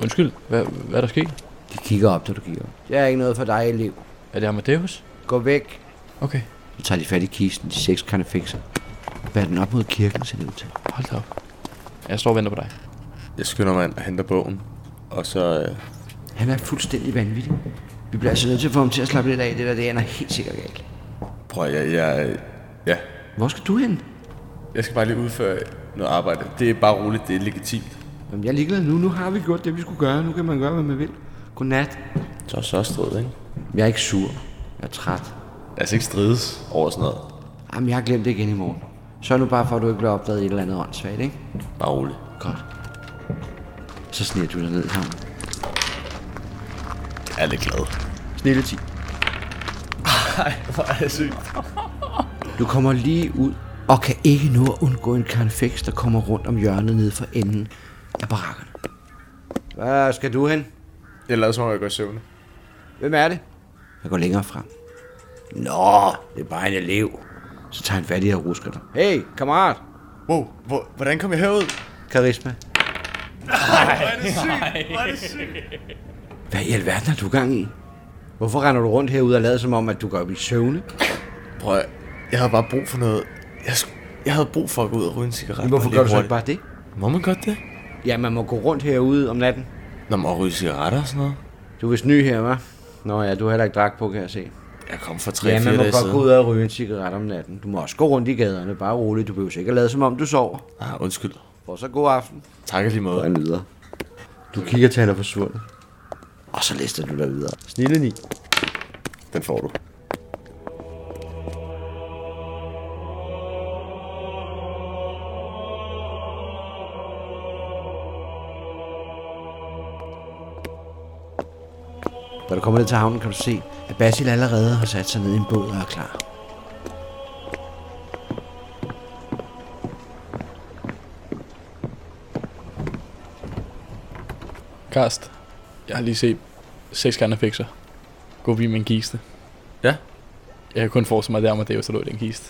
Speaker 4: Undskyld, hvad, hvad er der sket?
Speaker 1: De kigger op, da du kigger op. Det er ikke noget for dig, elev.
Speaker 4: Er det Amadeus?
Speaker 1: Gå væk.
Speaker 4: Okay,
Speaker 1: Så tager de fat i kisten, de seks katafixer. Bærer den op mod kirken, ser det ud til.
Speaker 4: hold da op. Jeg står og venter på dig.
Speaker 2: Jeg skynder mig ind og henter bogen. Og så... Øh,
Speaker 1: Han er fuldstændig vanvittig. Vi bliver altså nødt til at få ham til at slappe lidt af. Det der, det ender helt sikkert galt.
Speaker 2: prøv at- jeg, jeg... Ja.
Speaker 1: Hvor skal du hen?
Speaker 2: Jeg skal bare lige udføre noget arbejde. Det er bare roligt, det er legitimt.
Speaker 1: Jamen, jeg er ligeglad nu. Nu har vi gjort det, vi skulle gøre. Nu kan man gøre, hvad man vil. Godnat.
Speaker 2: Så er så strid, ikke?
Speaker 1: Jeg er ikke sur. Jeg er træt.
Speaker 2: Lad
Speaker 7: Altså,
Speaker 2: os ikke strides over sådan noget.
Speaker 1: Jamen, jeg har glemt det igen i morgen. Så nu bare for, at du ikke bliver opdaget i et eller andet åndssvagt, ikke?
Speaker 2: Bare roligt.
Speaker 1: Godt. Så sniger du dig ned i havnen.
Speaker 2: Jeg er lidt glad.
Speaker 1: Snille 10.
Speaker 7: Hvor er det sygt.
Speaker 1: Du kommer lige ud og kan ikke nå at undgå en karnefeks, der kommer rundt om hjørnet nede for enden af barakkerne. Hvad skal du hen?
Speaker 7: Jeg lader som om, jeg går i søvne.
Speaker 1: Hvem er det? Jeg går længere frem. Nå, det er bare en elev. Så tager han fat i dig og rusker dig. Hey, kammerat.
Speaker 7: Wow, hvor, hvordan kom jeg herud?
Speaker 1: Karisma. Nej, Hvad i alverden har du gang i? Hvorfor render du rundt herude og lader som om, at du går op i søvne?
Speaker 2: Prøv at- Jeg havde bare brug for noget... Jeg, sk- jeg havde brug for at gå ud og ryge en cigaret.
Speaker 1: Hvorfor
Speaker 2: Lige
Speaker 1: gør du så ikke
Speaker 2: hurtigt.
Speaker 1: bare det?
Speaker 2: Må man godt det?
Speaker 1: Ja, man må gå rundt herude om natten.
Speaker 2: Når man ryger cigaretter og sådan noget.
Speaker 1: Du er vist ny her, hva'? Nå ja, du har heller ikke drak på, kan jeg se.
Speaker 2: Jeg kom for 3-4
Speaker 1: Ja, man må
Speaker 2: dage
Speaker 1: godt
Speaker 2: siden.
Speaker 1: gå ud og ryge en cigaret om natten. Du må også gå rundt i gaderne, bare roligt. Du behøver sikkert lade som om, du sover.
Speaker 2: Ah, undskyld.
Speaker 1: Og så god aften.
Speaker 2: Tak lige måde.
Speaker 1: Og videre. Du kigger til, han er forsvundet. Og så lister du dig videre. Snille ni.
Speaker 2: Den får du.
Speaker 1: Da du kommer ned til havnen, kan du se, at Basil allerede har sat sig ned i en båd og er klar.
Speaker 3: Karst, jeg har lige set seks karnafekser gå forbi min kiste.
Speaker 2: Ja.
Speaker 3: Jeg kan kun forestille mig, at det er Amadeus, der lå i den kiste.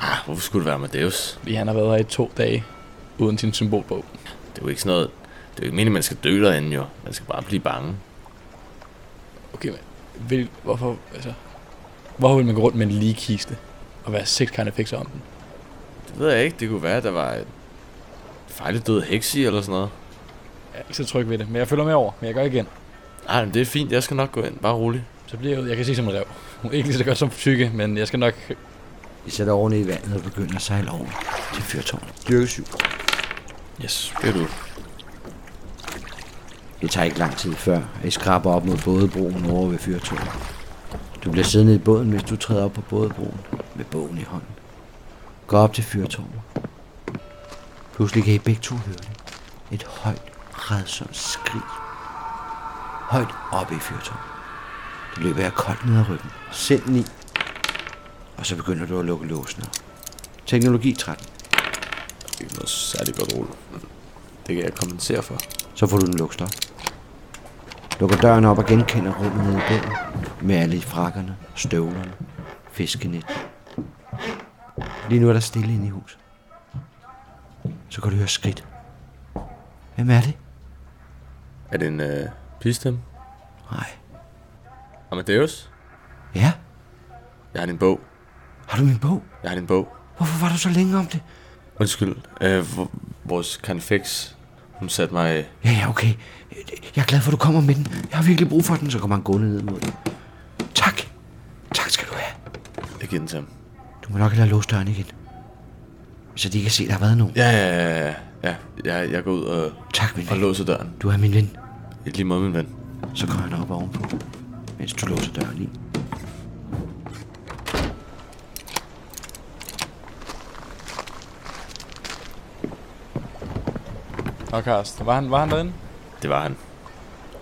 Speaker 2: Ah, hvorfor skulle det være Amadeus?
Speaker 3: Fordi han har været her i to dage uden sin symbolbog.
Speaker 2: Det er jo ikke sådan noget... Det er jo ikke meningen, man skal dø derinde jo. Man skal bare blive bange.
Speaker 3: Okay, men vil, hvorfor, altså, hvorfor vil man gå rundt med en lige kiste og være seks karnafekser om den?
Speaker 2: Det ved jeg ikke. Det kunne være, at der var en fejlet død heks i eller sådan noget.
Speaker 3: Jeg er ikke så tryg ved det, men jeg følger med over, men jeg gør igen.
Speaker 2: Ej, Ah, men det er fint. Jeg skal nok gå ind. Bare rolig.
Speaker 3: Så bliver jeg ud, jeg kan se som en rev. Ikke lige så godt som psyke, men jeg skal nok...
Speaker 1: I sætter over ned i vandet og begynder at sejle over til fyrtårnet.
Speaker 9: Styrke 7.
Speaker 2: Yes, det er du.
Speaker 1: Det tager ikke lang tid før, at I skraber op mod bådebroen over ved fyrtårnet. Du bliver siddende i båden, hvis du træder op på bådebroen med bogen i hånden. Gå op til fyrtårnet. Pludselig kan I begge to høre det. Et højt, redsomt skrig. Højt oppe i fyrtårnet. Det løber jeg koldt ned ad ryggen. Send den i. Og så begynder du at lukke låsen op. Teknologi 13.
Speaker 2: Det er ikke noget særligt godt rulle. Det kan jeg kompensere for.
Speaker 1: Så får du den lukket op. Lukker døren op og genkender rummet nede i bunden. Med alle frakkerne, støvlerne, fiskenet. Lige nu er der stille inde i huset. Så kan du høre skridt. Hvem er det?
Speaker 2: Er det en øh, pistem?
Speaker 1: Nej.
Speaker 2: Amadeus?
Speaker 1: Ja,
Speaker 2: Jeg har din bog.
Speaker 1: har du min bog?
Speaker 2: Jeg har din bog.
Speaker 1: Hvorfor var du så længe om det?
Speaker 2: Undskyld. Øh, v- vores konfeks, hun satte mig...
Speaker 1: Ja, ja, okay. Jeg er glad for, at du kommer med den. Jeg har virkelig brug for den. Så kommer han gående ned mod dig. Tak. Tak skal du have.
Speaker 2: Jeg giver den til ham.
Speaker 1: Du må nok hellere låse døren igen. Så de kan se, at der har været nogen.
Speaker 2: Ja, ja, ja, ja, ja. ja. Jeg, jeg går ud og,
Speaker 1: Tak, min
Speaker 2: og
Speaker 1: ven.
Speaker 2: låser døren.
Speaker 1: Du er min ven.
Speaker 2: I lige måde, min ven.
Speaker 1: Så går han op ovenpå, mens du låser døren i.
Speaker 3: Nå, Karst, var han, var han derinde?
Speaker 2: Det var han.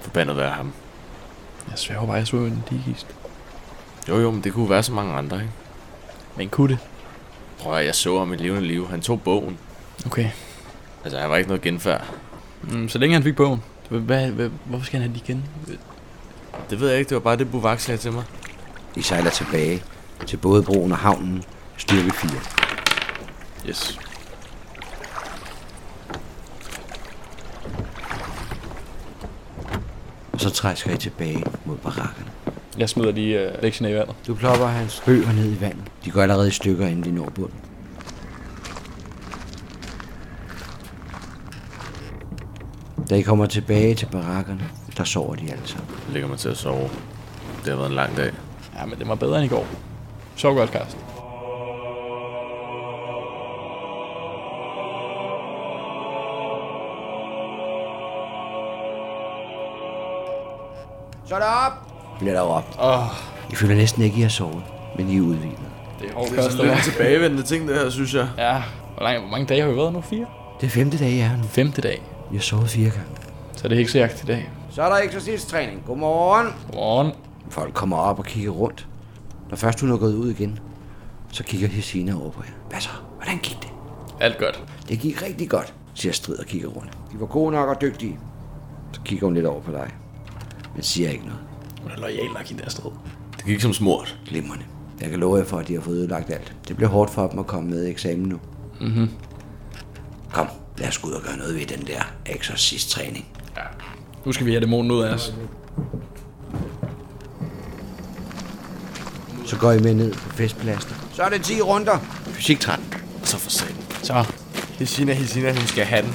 Speaker 2: Forbandet være ham.
Speaker 3: Jeg sværger bare, jeg så en lige kiste.
Speaker 2: Jo, jo, men det kunne være så mange andre, ikke?
Speaker 3: Men kunne det?
Speaker 2: Prøv at høre, jeg så ham i levende liv. Han tog bogen.
Speaker 3: Okay.
Speaker 2: Altså, han var ikke noget genfærd.
Speaker 3: Mm, så længe han fik bogen. Hvad, hvad, hvad, hvorfor skal han have den igen?
Speaker 2: Det ved jeg ikke. Det var bare det, Buvak sagde til mig.
Speaker 1: De sejler tilbage til både broen og havnen, styrke 4.
Speaker 2: Yes.
Speaker 1: Og så træsker I tilbage mod barakkerne.
Speaker 3: Jeg smider lige øh, lektierne i vandet.
Speaker 1: Du plopper hans bøger ned i vandet. De går allerede i stykker, inden de når bunden. Da I kommer tilbage til barakkerne, der sover de alle sammen.
Speaker 2: Jeg lægger mig til at sove. Det har været en lang dag.
Speaker 3: Ja, men det var bedre end i går. Så godt, Karsten.
Speaker 1: Så er der op! Bliver der op. Oh. I føler næsten ikke, I har sovet, men I er udvildet.
Speaker 3: Det er hårdt,
Speaker 9: Det er sådan lidt en tilbagevendende ting, det her, synes jeg.
Speaker 3: Ja, hvor, lang, hvor mange dage har vi været nu? Fire?
Speaker 1: Det er femte dag, I er her nu.
Speaker 3: Femte dag.
Speaker 1: I har sovet fire gange.
Speaker 3: Så er det heksejagt i dag.
Speaker 1: Så er der eksorcisttræning. Godmorgen.
Speaker 3: Godmorgen.
Speaker 1: Folk kommer op og kigger rundt. Når først hun er gået ud igen, så kigger Hesina over på jer. Hvad så? Hvordan gik det?
Speaker 3: Alt godt.
Speaker 1: Det gik rigtig godt, siger Strid og kigger rundt. De var gode nok og dygtige. Så kigger hun lidt over på dig, men siger ikke noget.
Speaker 3: Hun er lojal nok i det her sted.
Speaker 2: Det gik som smurt.
Speaker 1: Glimrende. Jeg kan love jer for, at de har fået ødelagt alt. Det bliver hårdt for dem at komme med i eksamen nu. Mhm. Kom, lad os gå ud og gøre noget ved den der eksorcisttræning.
Speaker 3: Nu skal vi have dæmonen ud af os.
Speaker 1: Så går I med ned på festpladsen. Så er det 10 runder. Fysik 13.
Speaker 2: Så for satan.
Speaker 3: Så,
Speaker 9: Hesina, Hesina, hun skal have den.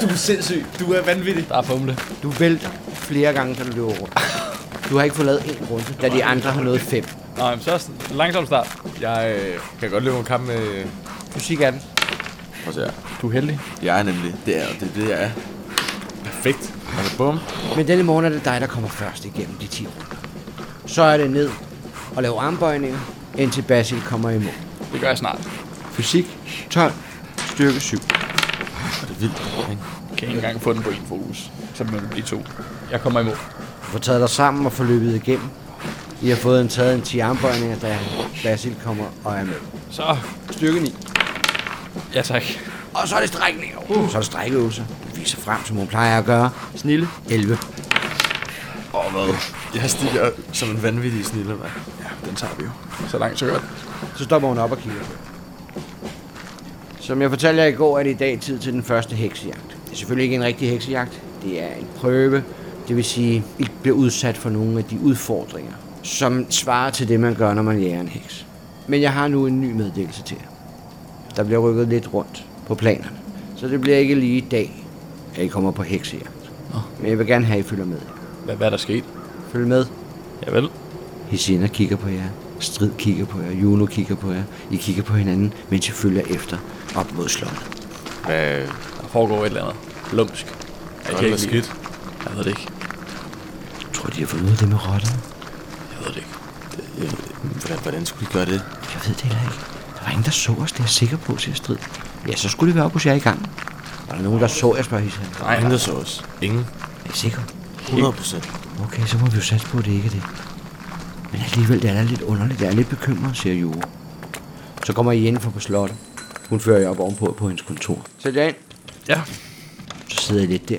Speaker 9: Du er sindssyg. Du er vanvittig.
Speaker 3: der er fumle.
Speaker 1: Du vælter flere gange, da du løber rundt. Du har ikke fået lavet en runde, da de andre har nået fem.
Speaker 3: Nej, men så er det langsom start.
Speaker 9: Jeg øh, kan godt løbe en kamp med...
Speaker 1: Musik er den.
Speaker 2: Prøv at se her.
Speaker 3: Du er heldig.
Speaker 2: Jeg er nemlig. Det er, det er det, jeg er.
Speaker 9: Perfekt. Altså, bum.
Speaker 1: Men denne morgen er det dig, der kommer først igennem de 10 runder. Så er det ned og lave armbøjninger, indtil Basil kommer i mål.
Speaker 3: Det gør jeg snart.
Speaker 1: Fysik 12, styrke 7.
Speaker 2: Og det er vildt, ikke?
Speaker 3: Kan ikke engang få den på en fokus. Så må det blive to. Jeg kommer imod.
Speaker 1: Du får taget dig sammen og får løbet igennem. I har fået en taget en 10 armbøjninger, da Basil kommer og er med.
Speaker 3: Så, styrke 9. Ja tak.
Speaker 1: Og så er det strækninger. Uh. Så er det strækøvelser. Hun viser frem, som hun plejer at gøre. Snille. 11.
Speaker 7: Jeg stiger som en vanvittig snille, mand.
Speaker 4: Den tager vi jo. Så langt, så godt.
Speaker 1: Så stopper hun op og kigger. Som jeg fortalte jer i går, er det i dag tid til den første heksejagt. Det er selvfølgelig ikke en rigtig heksejagt. Det er en prøve. Det vil sige, I bliver udsat for nogle af de udfordringer, som svarer til det, man gør, når man jager en heks. Men jeg har nu en ny meddelelse til jer. Der bliver rykket lidt rundt på planerne. Så det bliver ikke lige i dag, at I kommer på heksejagt. Men jeg vil gerne have, at I følger med.
Speaker 4: Hvad, hvad er der sket?
Speaker 1: Følg med.
Speaker 4: Javel.
Speaker 1: Hisina kigger på jer. Strid kigger på jer. Juno kigger på jer. I kigger på hinanden, mens I følger efter op mod slottet.
Speaker 2: Hvad
Speaker 4: Der foregår et eller andet. Lumsk. Jeg
Speaker 2: er der
Speaker 4: lide-
Speaker 2: skidt?
Speaker 4: Jeg ved det ikke.
Speaker 1: Tror de har fundet ud af det med rotterne?
Speaker 4: Jeg ved det ikke.
Speaker 2: Hvordan, hvordan skulle de gøre det?
Speaker 1: Jeg ved det heller ikke. Der var ingen, der så os, det er jeg sikker på, siger Strid. Ja, så skulle det være op hos jer i gang. Var der nogen, der så jer, spørger Hisina?
Speaker 2: Nej, Ingen, der så os. Ingen.
Speaker 1: Er I sikre?
Speaker 2: 100 procent.
Speaker 1: Okay, så må vi jo satse på, at det ikke er det. Men alligevel, det er da lidt underligt. Jeg er lidt bekymret, siger Jure. Så kommer I indenfor på slottet. Hun fører jer op ovenpå på hendes kontor. Sæt jer ind.
Speaker 4: Ja.
Speaker 1: Så sidder I lidt der.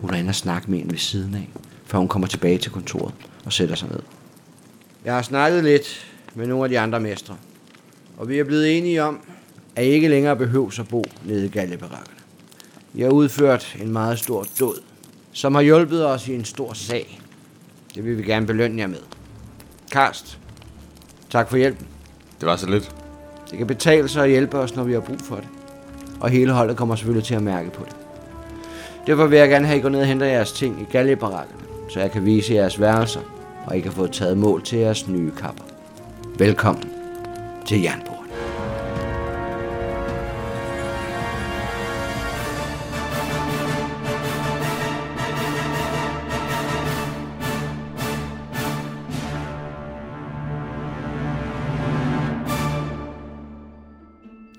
Speaker 1: Hun er inde og snakke med en ved siden af, før hun kommer tilbage til kontoret og sætter sig ned. Jeg har snakket lidt med nogle af de andre mestre, og vi er blevet enige om, at I ikke længere behøver at bo nede i gallebarakkerne. I har udført en meget stor død, som har hjulpet os i en stor sag. Det vil vi gerne belønne jer med. Karst, tak for hjælpen.
Speaker 7: Det var så lidt.
Speaker 1: Det kan betale sig at hjælpe os, når vi har brug for det. Og hele holdet kommer selvfølgelig til at mærke på det. Derfor vil jeg gerne have, at I går ned og henter jeres ting i gallebarakkerne, så jeg kan vise jeres værelser, og I kan få taget mål til jeres nye kapper. Velkommen til Jernbordet.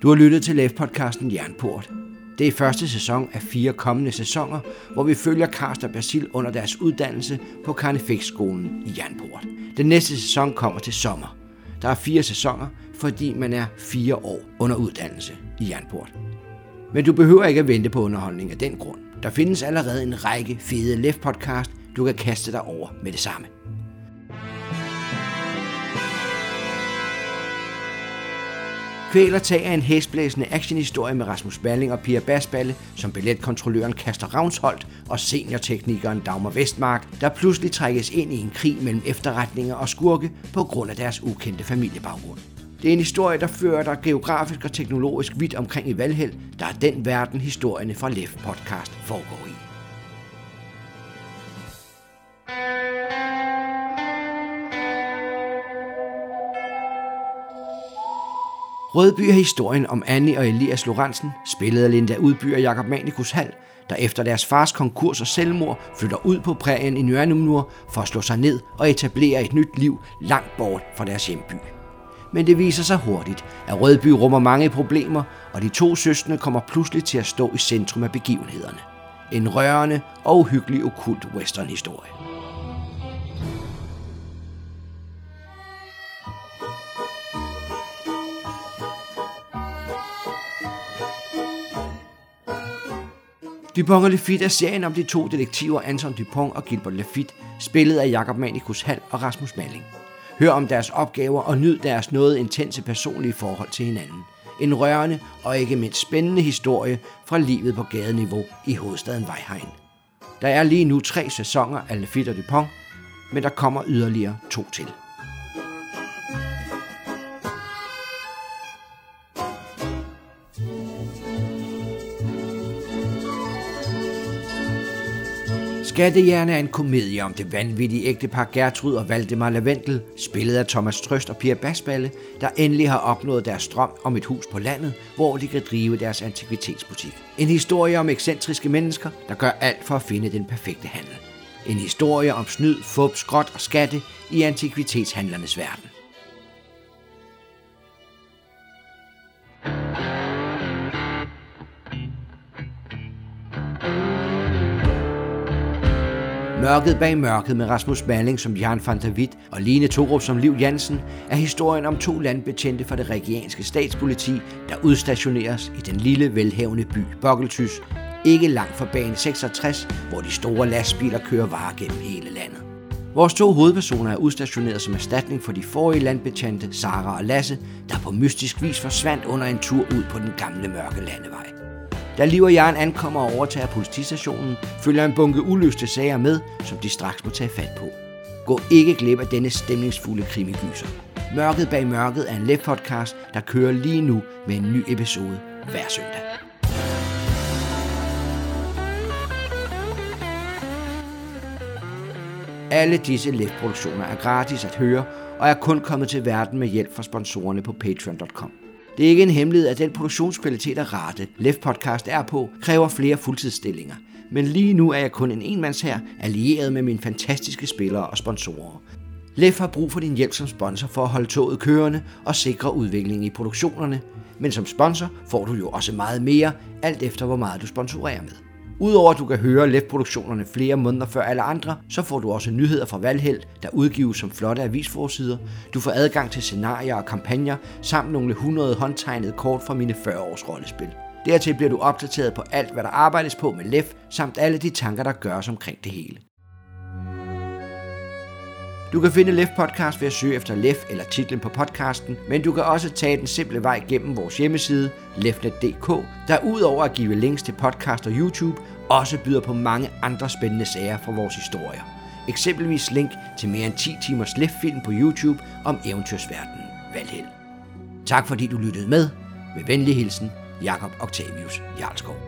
Speaker 1: Du har lyttet til LEF-podcasten Jernport. Det er første sæson af fire kommende sæsoner, hvor vi følger Karst og Basil under deres uddannelse på Karnefæksskolen i Jernport. Den næste sæson kommer til sommer. Der er fire sæsoner, fordi man er fire år under uddannelse i Jernport. Men du behøver ikke at vente på underholdning af den grund. Der findes allerede en række fede LEF-podcast, du kan kaste dig over med det samme. Kvæler tager en hæsblæsende actionhistorie med Rasmus Balling og Pia Basballe, som billetkontrolløren Kaster Ravnsholt og seniorteknikeren Dagmar Vestmark, der pludselig trækkes ind i en krig mellem efterretninger og skurke på grund af deres ukendte familiebaggrund. Det er en historie, der fører dig geografisk og teknologisk vidt omkring i Valhæl, der er den verden, historierne fra Lef Podcast foregår i. Rødby er historien om Annie og Elias Lorentzen, spillet af Linda Udby og Jakob Manikus Hall, der efter deres fars konkurs og selvmord flytter ud på prærien i Nørnumnur for at slå sig ned og etablere et nyt liv langt bort fra deres hjemby. Men det viser sig hurtigt, at Rødby rummer mange problemer, og de to søstre kommer pludselig til at stå i centrum af begivenhederne. En rørende og uhyggelig okult westernhistorie. Dupont og Lafitte er serien om de to detektiver Anton Dupont og Gilbert Lafitte, spillet af Jakob Manikus Hall og Rasmus Malling. Hør om deres opgaver og nyd deres noget intense personlige forhold til hinanden. En rørende og ikke mindst spændende historie fra livet på gadeniveau i hovedstaden Vejhegn. Der er lige nu tre sæsoner af Lafitte og Dupont, men der kommer yderligere to til. Skattejerne er en komedie om det vanvittige ægtepar Gertrud og Valdemar Lavendel, spillet af Thomas Trøst og Pia Basballe, der endelig har opnået deres drøm om et hus på landet, hvor de kan drive deres antikvitetsbutik. En historie om ekscentriske mennesker, der gør alt for at finde den perfekte handel. En historie om snyd, fup, skråt og skatte i antikvitetshandlernes verden. Mørket bag mørket med Rasmus Malling som Jan van der Witt og Line Torup som Liv Jansen er historien om to landbetjente fra det regianske statspoliti, der udstationeres i den lille velhavende by Bokkeltys, ikke langt fra bane 66, hvor de store lastbiler kører varer gennem hele landet. Vores to hovedpersoner er udstationeret som erstatning for de forrige landbetjente, Sara og Lasse, der på mystisk vis forsvandt under en tur ud på den gamle mørke landevej. Da Liv og Jørgen ankommer og overtager politistationen, følger en bunke uløste sager med, som de straks må tage fat på. Gå ikke glip af denne stemningsfulde krimigyser. Mørket bag mørket er en let podcast, der kører lige nu med en ny episode hver søndag. Alle disse LEF-produktioner er gratis at høre, og er kun kommet til verden med hjælp fra sponsorerne på patreon.com. Det er ikke en hemmelighed, at den produktionskvalitet og rate, LEF Podcast er på, kræver flere fuldtidsstillinger. Men lige nu er jeg kun en enmands her, allieret med mine fantastiske spillere og sponsorer. LEF har brug for din hjælp som sponsor for at holde toget kørende og sikre udviklingen i produktionerne. Men som sponsor får du jo også meget mere, alt efter hvor meget du sponsorerer med. Udover at du kan høre LEF-produktionerne flere måneder før alle andre, så får du også nyheder fra Valhæld, der udgives som flotte avisforsider. Du får adgang til scenarier og kampagner, samt nogle 100 håndtegnede kort fra mine 40 års rollespil. Dertil bliver du opdateret på alt, hvad der arbejdes på med LEF, samt alle de tanker, der gøres omkring det hele. Du kan finde Lef Podcast ved at søge efter Lef eller titlen på podcasten, men du kan også tage den simple vej gennem vores hjemmeside, lefnet.dk, der udover at give links til podcast og YouTube, også byder på mange andre spændende sager fra vores historier. Eksempelvis link til mere end 10 timers Lef-film på YouTube om eventyrsverdenen Valhæl. Tak fordi du lyttede med. Med venlig hilsen, Jakob Octavius Jarlskov.